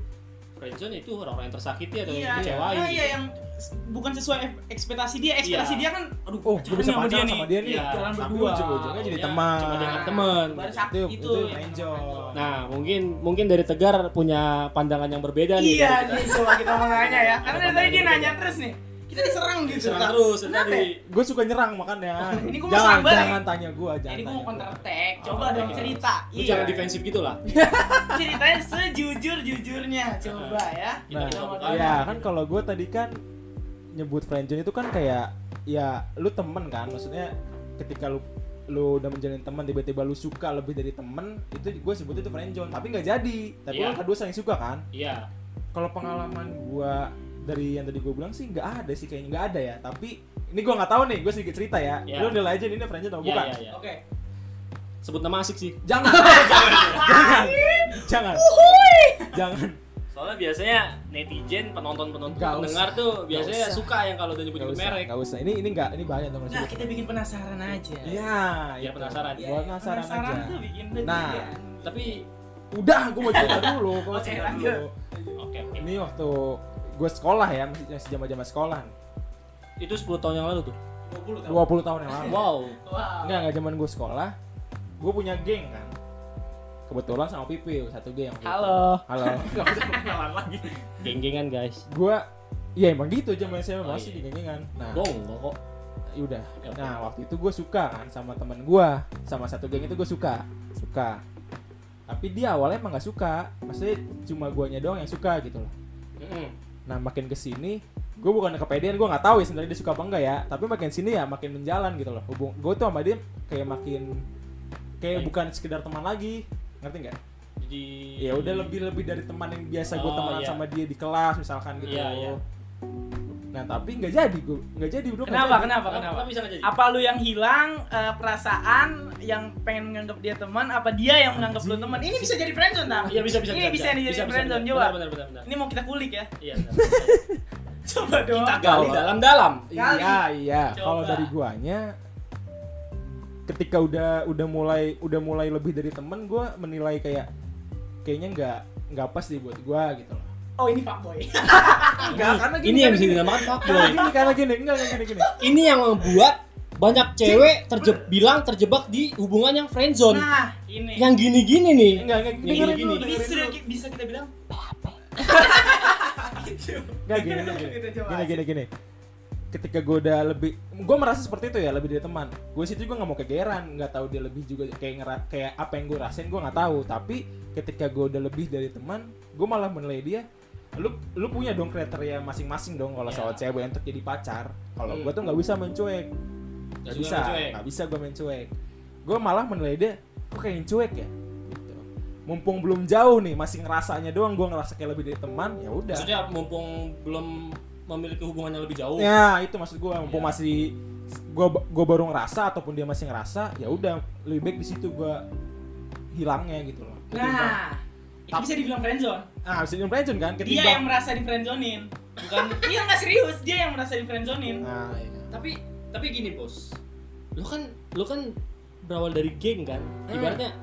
Speaker 2: friendzone itu orang-orang yang tersakiti atau yang dikecewain
Speaker 3: ah,
Speaker 2: gitu.
Speaker 3: iya yang s- bukan sesuai ef- ekspektasi dia ekspektasi
Speaker 2: Iya.
Speaker 3: dia kan
Speaker 1: Aduh, oh, gue bisa
Speaker 3: pacaran sama
Speaker 1: pacaran
Speaker 3: dia
Speaker 1: sama
Speaker 3: nih.
Speaker 1: dia nih.
Speaker 2: Iya,
Speaker 3: jalan
Speaker 2: tapi
Speaker 3: berdua.
Speaker 1: Nah,
Speaker 3: Nah,
Speaker 1: ujung-ujungnya jadi
Speaker 2: Iya,
Speaker 1: teman.
Speaker 2: cuma dianggap temen.
Speaker 3: baru sakit gitu.
Speaker 1: Itu-
Speaker 3: itu,
Speaker 1: itu
Speaker 3: yang
Speaker 1: friendzone.
Speaker 3: friendzone.
Speaker 2: Nah, mungkin mungkin dari Tegar punya pandangan yang berbeda nih.
Speaker 3: iya
Speaker 2: dari
Speaker 3: nih coba kita mau nanya ya karena dari tadi dia
Speaker 2: Apa-apa.
Speaker 3: nanya terus nih kita diserang
Speaker 2: kita.
Speaker 3: gitu
Speaker 2: Serang
Speaker 3: Kak.
Speaker 2: terus
Speaker 3: Kenapa
Speaker 2: tadi.
Speaker 1: Gue suka nyerang makanya.
Speaker 3: Ini gua mau
Speaker 1: jangan
Speaker 3: sambal,
Speaker 1: jangan tanya gue, jangan.
Speaker 3: jadi gue mau
Speaker 1: tanya
Speaker 3: counter
Speaker 1: gua.
Speaker 3: attack
Speaker 2: Oh,
Speaker 3: coba dong
Speaker 2: oke.
Speaker 3: cerita Iya.
Speaker 2: Lu
Speaker 1: Iya.
Speaker 2: jangan defensif gitu lah.
Speaker 3: ceritanya sejujur jujurnya coba ya
Speaker 1: Nah,
Speaker 2: Kita
Speaker 3: mau
Speaker 2: tanya.
Speaker 1: ya kan kalau gue tadi kan nyebut friendzone itu kan kayak ya lu temen kan, maksudnya ketika lu lu udah menjalin teman tiba-tiba lu suka lebih dari temen itu gue sebut itu friendzone tapi nggak jadi tapi
Speaker 2: Iya.
Speaker 1: lu kedua saling suka kan
Speaker 2: Iya.
Speaker 1: kalau pengalaman gua dari yang tadi gua bilang sih nggak ada sih kayaknya nggak ada ya tapi ini gua nggak tahu nih gua sedikit cerita ya
Speaker 2: Ya.
Speaker 1: lu nilai aja ini friendzone atau
Speaker 2: Iya,
Speaker 1: Oh, bukan
Speaker 2: iya, iya.
Speaker 3: oke
Speaker 2: Sebut nama asik sih.
Speaker 1: jangan jangan jangan jangan
Speaker 2: Soalnya biasanya netizen, penonton-penonton,
Speaker 1: Nggak
Speaker 2: pendengar tuh biasanya
Speaker 1: usah.
Speaker 2: suka yang kalau udah
Speaker 1: nggak
Speaker 2: nyebut
Speaker 1: usah
Speaker 2: merek.
Speaker 1: nggak usah ini ini nggak ini bahaya teman
Speaker 3: nah kita bikin penasaran aja Iya,
Speaker 1: iya
Speaker 2: Biar
Speaker 1: itu.
Speaker 2: penasaran.
Speaker 1: gua penasaran aja
Speaker 3: tuh bikin
Speaker 1: Nah.
Speaker 2: Tapi
Speaker 1: udah gua mau cerita dulu gua mau
Speaker 3: Oke,
Speaker 1: cerita
Speaker 3: lanjut.
Speaker 1: dulu
Speaker 2: oke oke.
Speaker 1: ini waktu gua sekolah ya masih masih zaman zaman sekolah
Speaker 2: Itu 10 tahun yang lalu tuh.
Speaker 3: 20 tahun.
Speaker 1: 20 tahun yang lalu
Speaker 2: Ah, Wow.
Speaker 3: Wow.
Speaker 1: Enggak, enggak zaman gue sekolah. Gue punya geng kan. Kebetulan sama Pipi satu geng.
Speaker 4: Halo.
Speaker 1: Halo.
Speaker 2: Geng-gengan, guys.
Speaker 1: gue ya emang gitu zaman saya
Speaker 2: Oh,
Speaker 1: masih
Speaker 2: iya.
Speaker 1: di geng-gengan. Nah,
Speaker 2: Gong kok.
Speaker 1: ya udah.
Speaker 2: Ya, oke.
Speaker 1: Nah, waktu itu gue suka kan sama temen gue, sama satu geng itu gue suka, suka. Tapi dia awalnya emang gak suka, maksudnya cuma guanya doang yang suka gitu loh.
Speaker 2: Mm-mm.
Speaker 1: Nah, makin kesini gue bukan kepedean gue nggak tahu ya sebenarnya dia suka apa enggak ya tapi makin sini ya makin menjalan gitu loh hubung gue tuh sama dia kayak makin kayak
Speaker 2: Baik.
Speaker 1: bukan sekedar teman lagi ngerti nggak
Speaker 2: Jadi
Speaker 1: ya udah lebih lebih dari teman yang biasa gue
Speaker 2: Hmm. Oh,
Speaker 1: temenan
Speaker 2: iya.
Speaker 1: sama dia di kelas misalkan gitu
Speaker 2: Iya, iya.
Speaker 1: nah tapi nggak jadi gue nggak jadi bro
Speaker 3: Kenapa? Kenapa?
Speaker 2: Kenapa,
Speaker 3: Kenapa?
Speaker 2: kenapa kan? bisa nggak jadi?
Speaker 3: Apa lu yang hilang eh, perasaan yang pengen menganggap dia teman? Apa dia yang menganggap lu teman? Ini bisa jadi friendzone tak?
Speaker 2: Iya bisa bisa.
Speaker 3: Ini bisa nih jadi friendzone
Speaker 2: benar,
Speaker 3: coba.
Speaker 2: Benar benar benar.
Speaker 3: Ini mau kita kulik ya.
Speaker 2: Iya. benar.
Speaker 3: Coba dong.
Speaker 2: Kita gali dalam-dalam.
Speaker 3: Kali.
Speaker 1: iya iya
Speaker 3: Coba.
Speaker 1: kalau dari guanya ketika udah udah mulai udah mulai lebih dari temen gue menilai kayak kayaknya nggak nggak pas deh buat gue gitu loh
Speaker 3: Oh, ini fuckboy.
Speaker 1: Nggak, karena gini
Speaker 2: Ini yang bisa
Speaker 1: karena gini.
Speaker 2: dinamakan fuckboy.
Speaker 1: Karena gini karena gini enggak enggak, gini gini
Speaker 2: Ini yang membuat banyak cewek terjeb bilang terjebak di hubungan yang friendzone.
Speaker 3: Nah, ini.
Speaker 2: yang gini-gini nih.
Speaker 1: enggak enggak
Speaker 2: Ini
Speaker 1: dengerin
Speaker 2: gini.
Speaker 1: dulu
Speaker 3: ini
Speaker 1: dengerin
Speaker 3: sudah
Speaker 1: dulu
Speaker 3: ki- bisa kita bilang gitu.
Speaker 1: Nggak, gini, gini,
Speaker 3: Kita
Speaker 1: gini,
Speaker 3: coba.
Speaker 1: gini, gini, gini. Ketika gue udah lebih, gue merasa seperti itu ya, lebih dari teman. Gue situ juga nggak mau kegeran, nggak tahu dia lebih juga kayak ngera, kayak apa yang gue rasain gue nggak tahu. Tapi ketika gue udah lebih dari teman, gue malah menilai dia. Lu lu punya dong kriteria masing-masing dong kalau
Speaker 2: Iya.
Speaker 1: soal cewek untuk jadi pacar. Kalau
Speaker 2: Hmm.
Speaker 1: gue tuh nggak bisa main cuek,
Speaker 2: Nggak
Speaker 1: nggak
Speaker 2: suka
Speaker 1: bisa,
Speaker 2: main cuek.
Speaker 1: nggak bisa gue main cuek. Gue malah menilai dia, kok kayak yang cuek ya. Gitu. Mumpung belum jauh nih, masih ngerasanya doang gue ngerasa kayak lebih dari teman, ya udah.
Speaker 2: Maksudnya mumpung belum memiliki hubungan yang lebih jauh.
Speaker 1: Ya itu maksud gue, mumpung
Speaker 2: Iya.
Speaker 1: masih gue gue baru ngerasa ataupun dia masih ngerasa, ya udah lebih baik di situ gue hilangnya gitu loh. Ketimbang-
Speaker 3: Nah, itu bisa dibilang friendzone.
Speaker 1: ah bisa di friendzone
Speaker 2: Iya,
Speaker 1: kan?
Speaker 3: Dia
Speaker 1: Ketimbang,
Speaker 3: yang merasa di friendzonein. Bukan Iya enggak serius, dia yang merasa di friendzonein.
Speaker 1: nah, iya.
Speaker 2: Tapi tapi gini, Bos. Lu kan lu kan berawal dari geng kan? Ibaratnya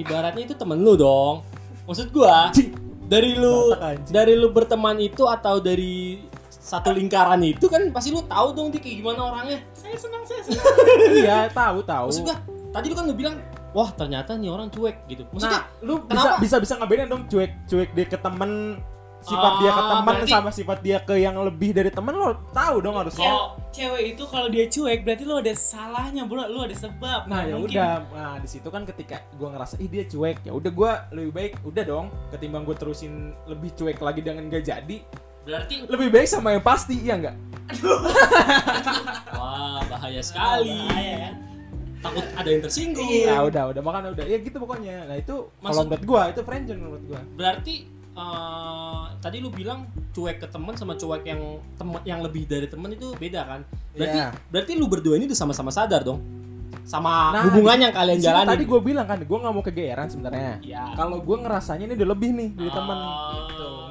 Speaker 2: ibaratnya itu temen lu dong. Maksud gua
Speaker 1: Anjing.
Speaker 2: dari lu
Speaker 1: Batak anjing.
Speaker 2: dari lu berteman itu atau dari satu lingkaran itu kan pasti lu tahu dong dia kayak gimana orangnya.
Speaker 3: Saya senang, saya senang.
Speaker 1: iya tahu tahu.
Speaker 2: Maksud gua tadi lu kan lu bilang, "Wah, ternyata nih orang cuek" gitu. Maksudnya
Speaker 1: Nah, lu
Speaker 2: kenapa?
Speaker 1: bisa bisa bisa ngebedain dong cuek cuek dia ke temen sifat dia ke
Speaker 2: Ah,
Speaker 1: teman
Speaker 2: berarti-
Speaker 1: sama sifat dia ke yang lebih dari teman lo tahu dong harusnya.
Speaker 2: Kalau-
Speaker 5: cewek itu kalau dia cuek berarti lu ada salahnya bro lu ada sebab
Speaker 1: Nah ya
Speaker 5: Mungkin-
Speaker 1: udah, nah di situ kan ketika gua ngerasa ih dia cuek, ya udah gua lebih baik udah dong ketimbang gua terusin lebih cuek lagi dengan gak jadi,
Speaker 2: Berarti
Speaker 1: lebih baik sama yang pasti iya nggak?
Speaker 2: wah bahaya sekali.
Speaker 5: bahaya ya.
Speaker 2: Takut ada yang tersinggung. Nah,
Speaker 1: Ya udah udah makanya udah ya gitu pokoknya. Nah itu kalau
Speaker 2: Iya. Maksud-
Speaker 1: menurut gua itu friendzone menurut gua.
Speaker 2: Berarti eh, tadi lu bilang cuek ke teman sama cuek yang temen, yang lebih dari teman itu beda kan? Berarti
Speaker 1: Iya.
Speaker 2: berarti lu berdua ini udah sama-sama sadar dong sama
Speaker 1: Nah,
Speaker 2: hubungan yang
Speaker 1: Di
Speaker 2: kalian
Speaker 1: sini
Speaker 2: jalani.
Speaker 1: Tadi gua bilang kan gua nggak mau kegeeran sebenarnya.
Speaker 2: Iya.
Speaker 1: Kalau gua ngerasanya ini udah lebih nih dari
Speaker 2: Ah.
Speaker 1: teman.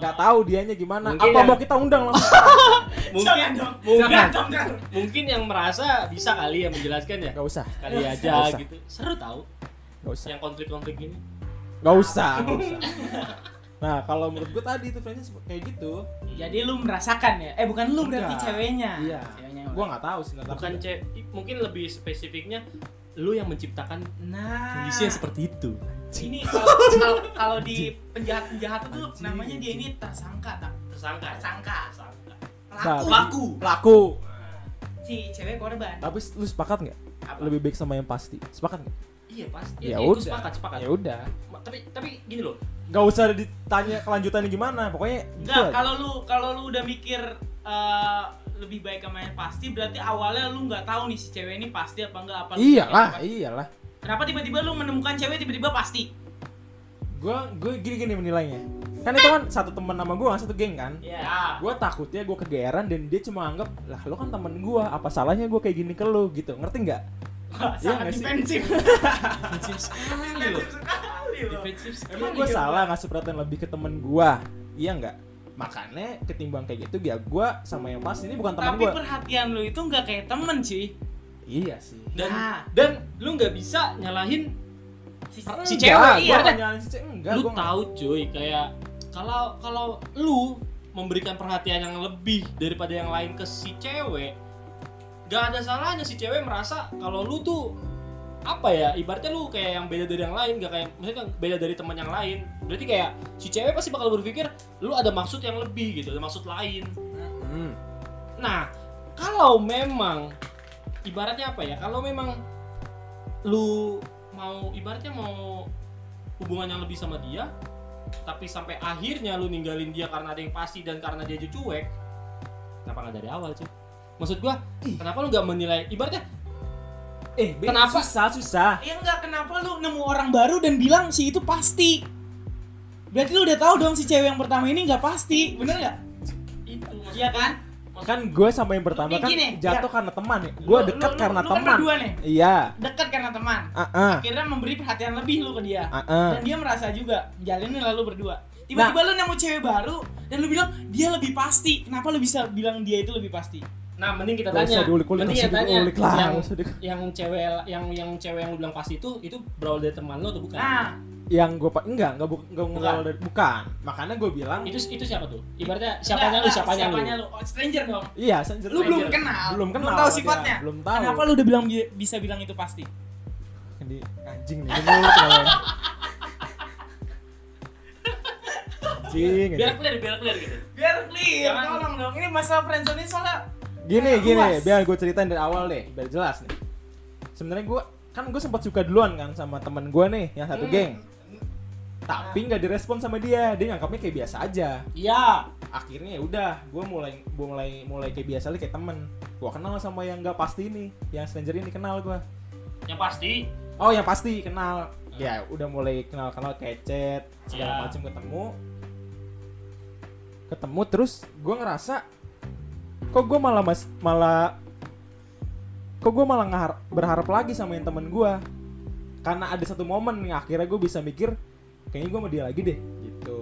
Speaker 1: Nggak tahu dianya gimana.
Speaker 2: Mungkin
Speaker 1: Apa
Speaker 2: yang-
Speaker 1: mau kita undang langsung?
Speaker 2: Mungkin
Speaker 3: dong
Speaker 2: mungkin-
Speaker 3: jangan dong jangan
Speaker 2: mungkin yang merasa bisa kali ya menjelaskan ya.
Speaker 1: Gak usah,
Speaker 2: Kali
Speaker 1: Nggak
Speaker 2: aja
Speaker 1: usah.
Speaker 2: gitu. Seru tau
Speaker 1: gak usah,
Speaker 2: yang konflik-konflik gini.
Speaker 1: gak usah. nggak usah. Nah kalau menurut gua tadi itu friendzone kayak gitu.
Speaker 3: jadi lu merasakan ya eh bukan lu berarti
Speaker 1: Enggak.
Speaker 3: ceweknya
Speaker 1: Iya.
Speaker 3: ceweknya
Speaker 1: Gua nggak tahu sih. nggak tahu.
Speaker 2: Bukan cewek, mungkin lebih spesifiknya lu yang menciptakan
Speaker 3: nah
Speaker 2: kondisi yang seperti itu.
Speaker 3: ini kalau- kalau kalau di penjahat penjahat itu namanya dia ini tersangka tak
Speaker 2: Tersangka.
Speaker 3: Tersangka.
Speaker 2: Tersangka.
Speaker 3: pelaku
Speaker 1: Nah,
Speaker 2: Pelaku.
Speaker 1: Pelaku.
Speaker 3: si cewek korban
Speaker 1: Tapi lu sepakat nggak?
Speaker 3: Apa?
Speaker 1: Lebih baik sama yang pasti. Sepakat nggak?
Speaker 2: Iya pasti.
Speaker 1: Ya
Speaker 2: itu
Speaker 1: udah.
Speaker 2: Sepakat, sepakat.
Speaker 1: Ya udah.
Speaker 2: Ma- Tapi tapi gini loh.
Speaker 1: Gak usah ditanya kelanjutannya gimana. Pokoknya gitu aja.
Speaker 3: Enggak, kalau lu kalau lu udah mikir eh, lebih baik sama yang pasti berarti awalnya lu nggak tahu nih si cewek ini pasti apa enggak apa lu
Speaker 1: Iyalah,
Speaker 3: pikir apa.
Speaker 1: iyalah.
Speaker 3: Kenapa tiba-tiba lu menemukan cewek tiba-tiba pasti?
Speaker 1: Gue gue gini-gini menilainya. Kan itu kan satu teman sama gue, satu geng kan.
Speaker 3: Iya.
Speaker 2: Ya.
Speaker 1: Gue takutnya gue kegeeran dan dia cuma anggap lah lo kan temen gue, apa salahnya gue kayak gini ke lo gitu, ngerti nggak?
Speaker 3: Wah,
Speaker 1: Iya nggak
Speaker 3: sangat
Speaker 1: sih?
Speaker 3: defensif.
Speaker 2: Defensif sekali loh.
Speaker 3: Defensif sekali lu.
Speaker 2: Iya. Defensif sekali.
Speaker 1: Emang gue salah ngasih perhatian lebih ke temen gue, iya nggak? Makanya ketimbang kayak gitu ya gue sama yang pas ini bukan temen
Speaker 3: Tapi
Speaker 1: gue.
Speaker 3: perhatian lu itu nggak kayak temen sih.
Speaker 1: Iya sih.
Speaker 2: Dan
Speaker 3: Nah.
Speaker 2: dan lu nggak bisa nyalahin.
Speaker 3: Si,
Speaker 1: Enggak,
Speaker 3: cewek
Speaker 1: gua
Speaker 3: iya.
Speaker 1: nggak nyalahin si cewek, enggak,
Speaker 2: lu
Speaker 1: gua nggak-
Speaker 2: tahu cuy kayak kalau kalau lu memberikan perhatian yang lebih daripada yang lain ke si cewek gak ada salahnya si cewek merasa kalau lu tuh apa ya ibaratnya lu kayak yang beda dari yang lain gak kayak maksudnya kan beda dari teman yang lain berarti kayak si cewek pasti bakal berpikir lu ada maksud yang lebih gitu ada maksud lain
Speaker 1: Hmm.
Speaker 2: Nah, kalau memang ibaratnya apa ya? Kalau memang lu mau ibaratnya mau hubungan yang lebih sama dia, tapi sampai akhirnya lu ninggalin dia karena ada yang pasti dan karena dia cuek, kenapa nggak dari awal cuy? Maksud gua, kenapa lu nggak menilai? Ibaratnya
Speaker 1: Eh, Ben,
Speaker 2: Kenapa?
Speaker 1: susah susah?
Speaker 3: Ya enggak kenapa lu nemu orang baru dan bilang si itu pasti. Berarti lu udah tahu dong si cewek yang pertama ini nggak pasti, bener nggak?
Speaker 2: itu maksud-
Speaker 3: Iya kan?
Speaker 1: Kan gue sama yang pertama
Speaker 3: Ini
Speaker 1: kan
Speaker 3: gini,
Speaker 1: jatuh karena teman ya. Gue
Speaker 3: Lu-
Speaker 1: deket
Speaker 3: lu- lu-
Speaker 1: karena
Speaker 3: lu
Speaker 1: teman.
Speaker 3: Kan berdua nih,
Speaker 1: Iya.
Speaker 3: dekat karena teman.
Speaker 1: Ah ah.
Speaker 3: Akhirnya memberi perhatian lebih lu ke dia.
Speaker 1: Ah ah. Nah.
Speaker 3: Dan dia merasa juga jalanin lalu berdua. Tiba-tiba lu nemu cewek baru dan lu bilang dia lebih pasti. Kenapa lu bisa bilang dia itu lebih pasti?
Speaker 2: Nah, mending kita
Speaker 1: Gak
Speaker 2: tanya.
Speaker 1: usah diulik-ulik,
Speaker 2: mending
Speaker 1: gak
Speaker 2: kita
Speaker 1: usah
Speaker 2: tanya
Speaker 1: diulik lah.
Speaker 2: yang
Speaker 1: gak usah di-
Speaker 2: yang cewek yang yang cewek yang lu bilang pasti itu itu berawal dari teman lu atau bukan?
Speaker 3: Nah,
Speaker 1: Yang gue enggak enggak bu- enggak
Speaker 2: Bukan.
Speaker 1: bukan. dari bukan. Makanya gue bilang
Speaker 3: Iya.
Speaker 2: itu itu siapa tuh? Ibaratnya siapanya lu,
Speaker 3: enggak,
Speaker 2: siapanya,
Speaker 3: siapanya
Speaker 2: lu.
Speaker 3: lu? Oh, stranger dong.
Speaker 1: iya. sen-
Speaker 3: Lu belum kenal.
Speaker 1: belum kenal.
Speaker 3: Belum tahu
Speaker 1: sama dia,
Speaker 3: sifatnya.
Speaker 1: Belum tahu.
Speaker 3: Kenapa lu udah bilang bi- bisa bilang itu pasti?
Speaker 1: Ini anjing nih. Ini mulut kalau Anjing. ini.
Speaker 2: Biar clear, biar clear gitu.
Speaker 3: Biar clear,
Speaker 2: Jangan.
Speaker 3: tolong dong. Ini masalah friendzone ini soalnya
Speaker 1: Gini
Speaker 3: Nah,
Speaker 1: gini.
Speaker 3: luas.
Speaker 1: Biar gue ceritain dari awal deh. Biar jelas nih. Sebenarnya gue kan gue sempat suka duluan kan sama temen gue nih yang satu
Speaker 2: Hmm.
Speaker 1: geng. Tapi nggak direspon sama dia. Dia nganggapnya kayak biasa aja.
Speaker 2: Iya.
Speaker 1: akhirnya ya udah gue mulai gua mulai mulai kayak biasa lagi kayak temen gue kenal sama yang nggak pasti ini yang stranger ini kenal gue
Speaker 2: Yang pasti
Speaker 1: oh yang pasti
Speaker 2: Nah.
Speaker 1: kenal ya udah mulai kenal kenal kayak chat segala
Speaker 2: Ya.
Speaker 1: macam ketemu ketemu terus gue ngerasa kok gue malah mas malah kok gue malah ngehar- berharap lagi sama yang temen gue karena ada satu momen yang akhirnya gue bisa mikir kayaknya gue sama dia lagi deh gitu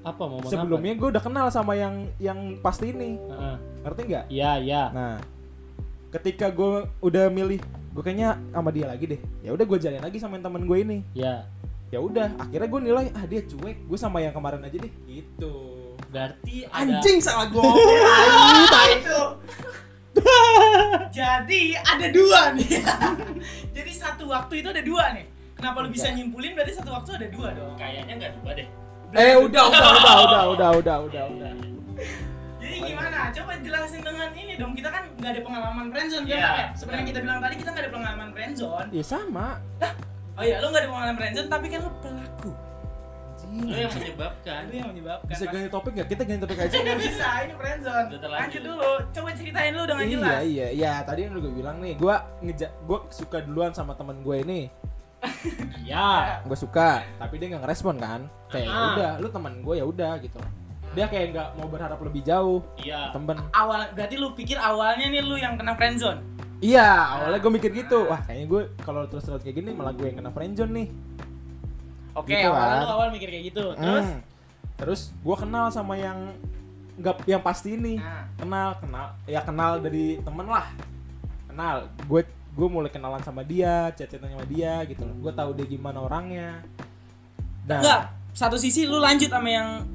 Speaker 2: apa momen
Speaker 1: sebelumnya gue udah kenal sama yang yang pasti ini
Speaker 2: apa?
Speaker 1: ngerti nggak?
Speaker 2: Iya, iya.
Speaker 1: Nah, ketika gue udah milih, gue kayaknya sama dia lagi deh. Ya udah gue jalin lagi sama yang temen gue ini.
Speaker 2: Iya.
Speaker 1: Ya udah, akhirnya gue nilai ah dia cuek, gue sama yang kemarin aja deh. Gitu.
Speaker 2: Berarti ada
Speaker 1: Anjing salah gue.
Speaker 3: itu. Jadi ada dua nih. Jadi
Speaker 1: Iya.
Speaker 3: satu waktu itu ada dua nih. Kenapa lu bisa nyimpulin berarti satu waktu ada dua dong.
Speaker 2: kayaknya enggak juga deh.
Speaker 1: eh udah udah udah udah udah udah udah udah
Speaker 3: Jadi
Speaker 1: Oh, iya.
Speaker 3: gimana? Coba jelasin dengan ini dong. Kita kan nggak ada pengalaman friendzone kan?
Speaker 2: Iya.
Speaker 3: Kak, ya? Seperti yang kita bilang tadi kita nggak ada pengalaman friendzone.
Speaker 1: ya sama
Speaker 3: Oh iya, lo nggak ada pengalaman friendzone tapi kan lo pelaku.
Speaker 2: Lu yang menyebabkan.
Speaker 1: Iya.
Speaker 3: Lo yang menyebabkan.
Speaker 1: bisa
Speaker 3: Pasti
Speaker 1: ganti topik nggak kita ganti topik aja
Speaker 3: nggak bisa. Ini friendzone.
Speaker 2: Udah terlanjur.
Speaker 3: Lanjut dulu. Coba ceritain lu dengan
Speaker 1: iya
Speaker 3: jelas.
Speaker 1: iya iya tadi yang gue bilang nih gue ngejak gue suka duluan sama temen gue ini
Speaker 3: Ah.
Speaker 2: Iya.
Speaker 1: gue suka tapi dia nggak ngerespon kan kayak
Speaker 2: Ah.
Speaker 1: udah lu teman gue ya udah gitu dia kayak nggak mau berharap lebih jauh
Speaker 2: Iya.
Speaker 1: temen
Speaker 3: Awal berarti lu pikir awalnya nih lu yang kena friendzone.
Speaker 1: iya awalnya gue mikir gitu wah kayaknya gue kalau terus terus kayak gini malah gue yang kena friendzone nih
Speaker 3: Oke,
Speaker 1: Gitu
Speaker 3: awalnya
Speaker 1: kan.
Speaker 3: lu awal mikir kayak gitu. Terus
Speaker 1: Hmm. terus gue kenal sama yang nggak yang pasti ini
Speaker 3: Nah,
Speaker 1: kenal kenal ya kenal dari temen lah kenal gue gue mulai kenalan sama dia chat chatan sama dia gitu loh gue tahu dia gimana orangnya dan
Speaker 3: enggak, satu sisi lu lanjut sama yang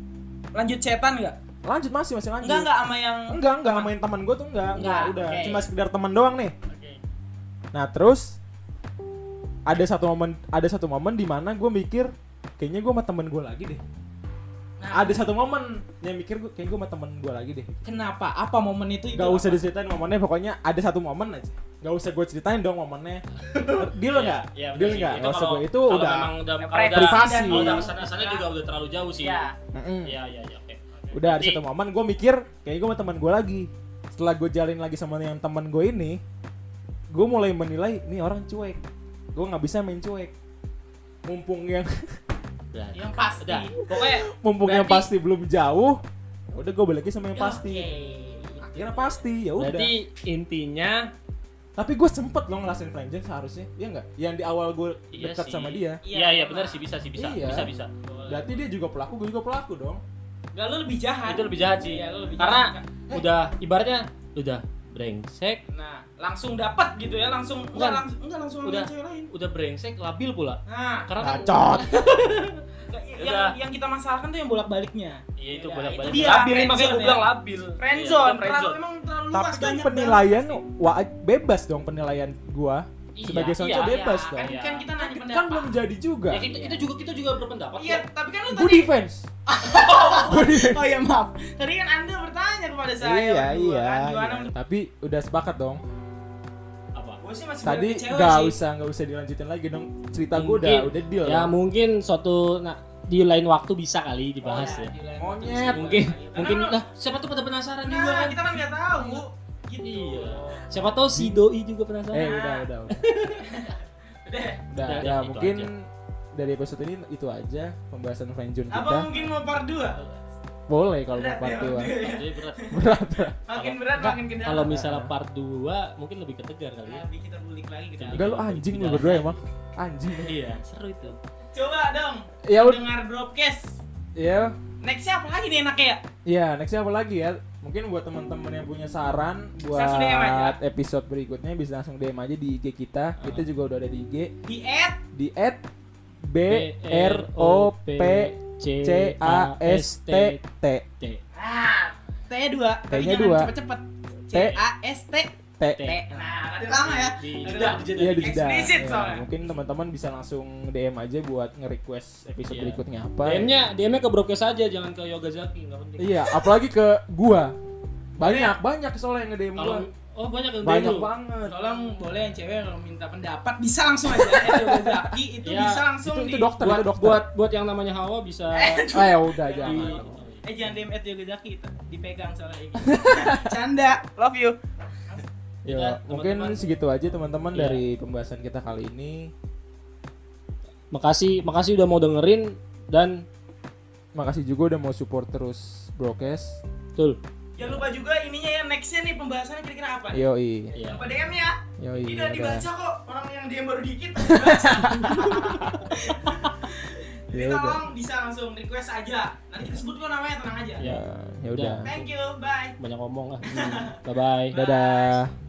Speaker 3: lanjut cetan enggak?
Speaker 1: lanjut masih masih lanjut
Speaker 2: Iya.
Speaker 3: Enggak enggak sama yang
Speaker 2: Hmm.
Speaker 1: enggak enggak main teman gue tuh enggak enggak,
Speaker 3: Enggak,
Speaker 1: udah
Speaker 3: oke.
Speaker 1: cuma sekedar teman doang nih
Speaker 2: Oke.
Speaker 1: nah terus ada satu momen ada satu momen di mana gue mikir kayaknya gue sama temen gue lagi deh
Speaker 3: Nah,
Speaker 1: ada satu momen yang mikir gue kayak gue sama temen gue lagi deh
Speaker 3: kenapa? Apa momen itu itu?
Speaker 1: Gak usah
Speaker 3: apa?
Speaker 1: diceritain momennya, pokoknya ada satu momen aja. Gak usah gue ceritain dong momennya. Deal nggak?
Speaker 2: Iya,
Speaker 1: Deal
Speaker 2: bener sih.
Speaker 1: nggak?
Speaker 2: Itu
Speaker 1: Gak usah
Speaker 2: kalau-
Speaker 1: gue itu
Speaker 2: kalau
Speaker 1: udah.
Speaker 2: memang udah
Speaker 6: Ya,
Speaker 2: kalau udah
Speaker 1: privasi.
Speaker 2: kalau udah kesana-sana juga udah terlalu jauh sih.
Speaker 6: Iya.
Speaker 1: Mm-mm.
Speaker 2: Iya, iya, iya. Oke. Oke.
Speaker 1: Udah ada
Speaker 2: Berarti-
Speaker 1: satu momen gue mikir kayaknya gue sama teman gue lagi. Setelah gue jalin lagi sama yang teman gue ini, gue mulai menilai nih orang cuek. Gue nggak bisa main cuek. Mumpung yang
Speaker 2: Udah.
Speaker 3: Yang pasti.
Speaker 2: Udah. Pokoknya
Speaker 1: mumpung yang
Speaker 2: Berarti-
Speaker 1: pasti
Speaker 2: Ya,
Speaker 1: belum jauh, ya udah gue balik lagi sama yang pasti.
Speaker 3: Oke.
Speaker 1: Akhirnya pasti, ya udah.
Speaker 2: berarti intinya
Speaker 1: Tapi gue sempet loh ngerasain friendzone seharusnya, ya nggak? Yang di awal gue
Speaker 2: iya
Speaker 1: dekat
Speaker 2: sih.
Speaker 1: sama dia,
Speaker 3: Iya,
Speaker 2: Iya, iya
Speaker 3: sama.
Speaker 2: benar sih bisa sih bisa.
Speaker 1: Iya.
Speaker 2: Bisa bisa.
Speaker 1: berarti dia juga pelaku, gue juga pelaku dong.
Speaker 3: Enggak lu lebih jahat.
Speaker 2: Itu lebih jahat sih.
Speaker 3: Iya, lu lebih
Speaker 2: Karena
Speaker 3: jahat.
Speaker 2: udah ibaratnya udah brengsek,
Speaker 3: nah, langsung dapat gitu ya, langsung enggak
Speaker 2: Bukan.
Speaker 3: langsung enggak langsung sama
Speaker 2: Udah.
Speaker 3: cewek lain.
Speaker 2: udah brengsek labil pula.
Speaker 3: Nah,
Speaker 2: Karena kan
Speaker 1: Bacot.
Speaker 3: enggak, yang
Speaker 2: Udah.
Speaker 3: yang kita masalahkan tuh yang bolak-baliknya.
Speaker 2: Iya itu
Speaker 3: Udah,
Speaker 2: bolak-balik.
Speaker 3: itu dia,
Speaker 2: Labil nih, makanya
Speaker 3: friendzone
Speaker 2: gue bilang
Speaker 3: ya.
Speaker 2: labil. Iya,
Speaker 3: Friendzone,
Speaker 2: itu
Speaker 3: terlalu emang terlalu
Speaker 1: Tapi
Speaker 3: luas
Speaker 1: kan
Speaker 3: banyak
Speaker 1: penilaian wa bebas dong penilaian gua
Speaker 2: Iya,
Speaker 1: sebagai soundtrack
Speaker 2: iya.
Speaker 1: bebas
Speaker 3: banget.
Speaker 1: dong.
Speaker 3: Kan, kan kita nanya
Speaker 1: Kan,
Speaker 3: pendapat.
Speaker 1: belum jadi juga.
Speaker 2: Ya, kita, itu juga kita juga berpendapat.
Speaker 3: Iya,
Speaker 2: kok.
Speaker 3: tapi kan lu
Speaker 1: Gue
Speaker 3: tadi
Speaker 1: defense.
Speaker 3: Oh ya maaf. Tadi kan Anda bertanya kepada saya.
Speaker 1: iya,
Speaker 3: berdua,
Speaker 1: iya,
Speaker 3: kan?
Speaker 1: iya.
Speaker 3: Gimana menurut-
Speaker 1: Tapi udah sepakat dong.
Speaker 2: Apa?
Speaker 3: Gua sih masih
Speaker 1: Tadi
Speaker 3: berani cewek
Speaker 1: gak
Speaker 3: sih.
Speaker 1: usah gak usah dilanjutin lagi dong. Cerita gua udah
Speaker 2: Mungkin.
Speaker 1: udah deal.
Speaker 2: Ya mungkin suatu nah, di lain waktu bisa kali dibahas
Speaker 3: Oh,
Speaker 2: ya.
Speaker 1: Iya.
Speaker 3: di lain
Speaker 1: Monyet.
Speaker 3: waktu sih.
Speaker 2: Mungkin
Speaker 3: Karena
Speaker 2: mungkin
Speaker 3: lu-
Speaker 2: lah siapa tuh pada penasaran juga
Speaker 3: Nah,
Speaker 2: kan.
Speaker 3: kita kan nggak tahu. Gitu.
Speaker 2: Iya. Siapa tahu si doi juga penasaran.
Speaker 1: eh udah udah udah.
Speaker 3: Udah.
Speaker 1: udah
Speaker 2: Udah,
Speaker 1: ya
Speaker 2: itu
Speaker 1: mungkin
Speaker 2: aja.
Speaker 1: dari episode ini itu aja pembahasan friendzone
Speaker 3: Apa
Speaker 1: kita.
Speaker 3: mungkin mau part 2?
Speaker 1: Boleh kalau mau part dua.
Speaker 2: Jadi berat.
Speaker 1: Berat. ya?
Speaker 3: Makin berat
Speaker 2: Nggak,
Speaker 3: makin kedalam.
Speaker 2: Kalau misalnya part 2 mungkin lebih ketegar kali ya.
Speaker 3: Tapi kita bulik lagi ke dalam.
Speaker 1: Enggak lu anjing lu berdua emang. Anjing.
Speaker 2: Iya, seru itu.
Speaker 3: Coba dong.
Speaker 1: Ya udah.
Speaker 3: Dengar broadcast.
Speaker 1: Ya.
Speaker 3: Nextnya apa lagi nih enaknya ya?
Speaker 1: Ya, nextnya apa lagi ya? Mungkin buat teman-teman yang punya saran
Speaker 3: Langsung DM aja.
Speaker 1: buat episode berikutnya bisa langsung DM aja di IG kita. Kita juga udah ada di IG
Speaker 3: Di add
Speaker 1: di @bropcast
Speaker 2: C
Speaker 1: T
Speaker 2: T.
Speaker 3: ah, T2 tapi
Speaker 1: T-nya
Speaker 3: jangan
Speaker 1: dua.
Speaker 3: cepet-cepet C
Speaker 1: T.
Speaker 3: A S T
Speaker 1: T.
Speaker 2: T.
Speaker 3: T nah ada lama ya
Speaker 2: Di jeda, di
Speaker 3: Ada
Speaker 2: jeda.
Speaker 1: Iya di jeda.
Speaker 3: Eksplisit
Speaker 1: Ya,
Speaker 3: soalnya.
Speaker 1: mungkin teman-teman bisa langsung DM aja buat nge-request episode
Speaker 2: Iya.
Speaker 1: berikutnya apa.
Speaker 2: DM-nya DM-nya ke Brokes aja, jangan ke Yoga Zaki, enggak penting.
Speaker 1: Iya, apalagi ke gua. Banyak, banyak soalnya yang nge-DM gua.
Speaker 2: Kalau oh banyak yang DM
Speaker 1: Banyak
Speaker 2: lu.
Speaker 1: banget.
Speaker 3: tolong boleh yang cewek kalau minta pendapat bisa langsung aja ya Yogazaki itu
Speaker 2: Ya,
Speaker 3: bisa langsung
Speaker 1: Itu, itu
Speaker 3: di
Speaker 1: dokter,
Speaker 2: buat,
Speaker 1: itu dokter.
Speaker 2: buat buat yang namanya Hawa bisa
Speaker 1: Ah, ya udah jangan.
Speaker 3: Jangan.
Speaker 2: Iya.
Speaker 3: eh jangan DM at Yogazaki itu dipegang soalnya ini canda love you
Speaker 1: Ya,
Speaker 2: Udah,
Speaker 1: mungkin
Speaker 2: teman-teman.
Speaker 1: segitu aja teman-teman
Speaker 2: Iya.
Speaker 1: dari pembahasan kita kali ini.
Speaker 2: makasih makasih udah mau dengerin dan
Speaker 1: Makasih juga udah mau support terus Brokes.
Speaker 2: betul
Speaker 3: jangan lupa juga ininya ya nextnya nih pembahasannya kira-kira apa nih
Speaker 1: Yoi.
Speaker 2: Iya.
Speaker 3: lupa DM ya
Speaker 1: Yoi. Iya,
Speaker 3: tidak
Speaker 1: udah.
Speaker 3: dibaca kok orang yang DM baru dikit dibaca. jadi
Speaker 1: Ya udah.
Speaker 3: tolong bisa langsung request aja nanti kita sebut kok
Speaker 1: Iya.
Speaker 3: namanya tenang aja
Speaker 2: Ya.
Speaker 1: Ya udah.
Speaker 3: thank you bye
Speaker 2: banyak ngomong ah. bye bye
Speaker 1: Dadah.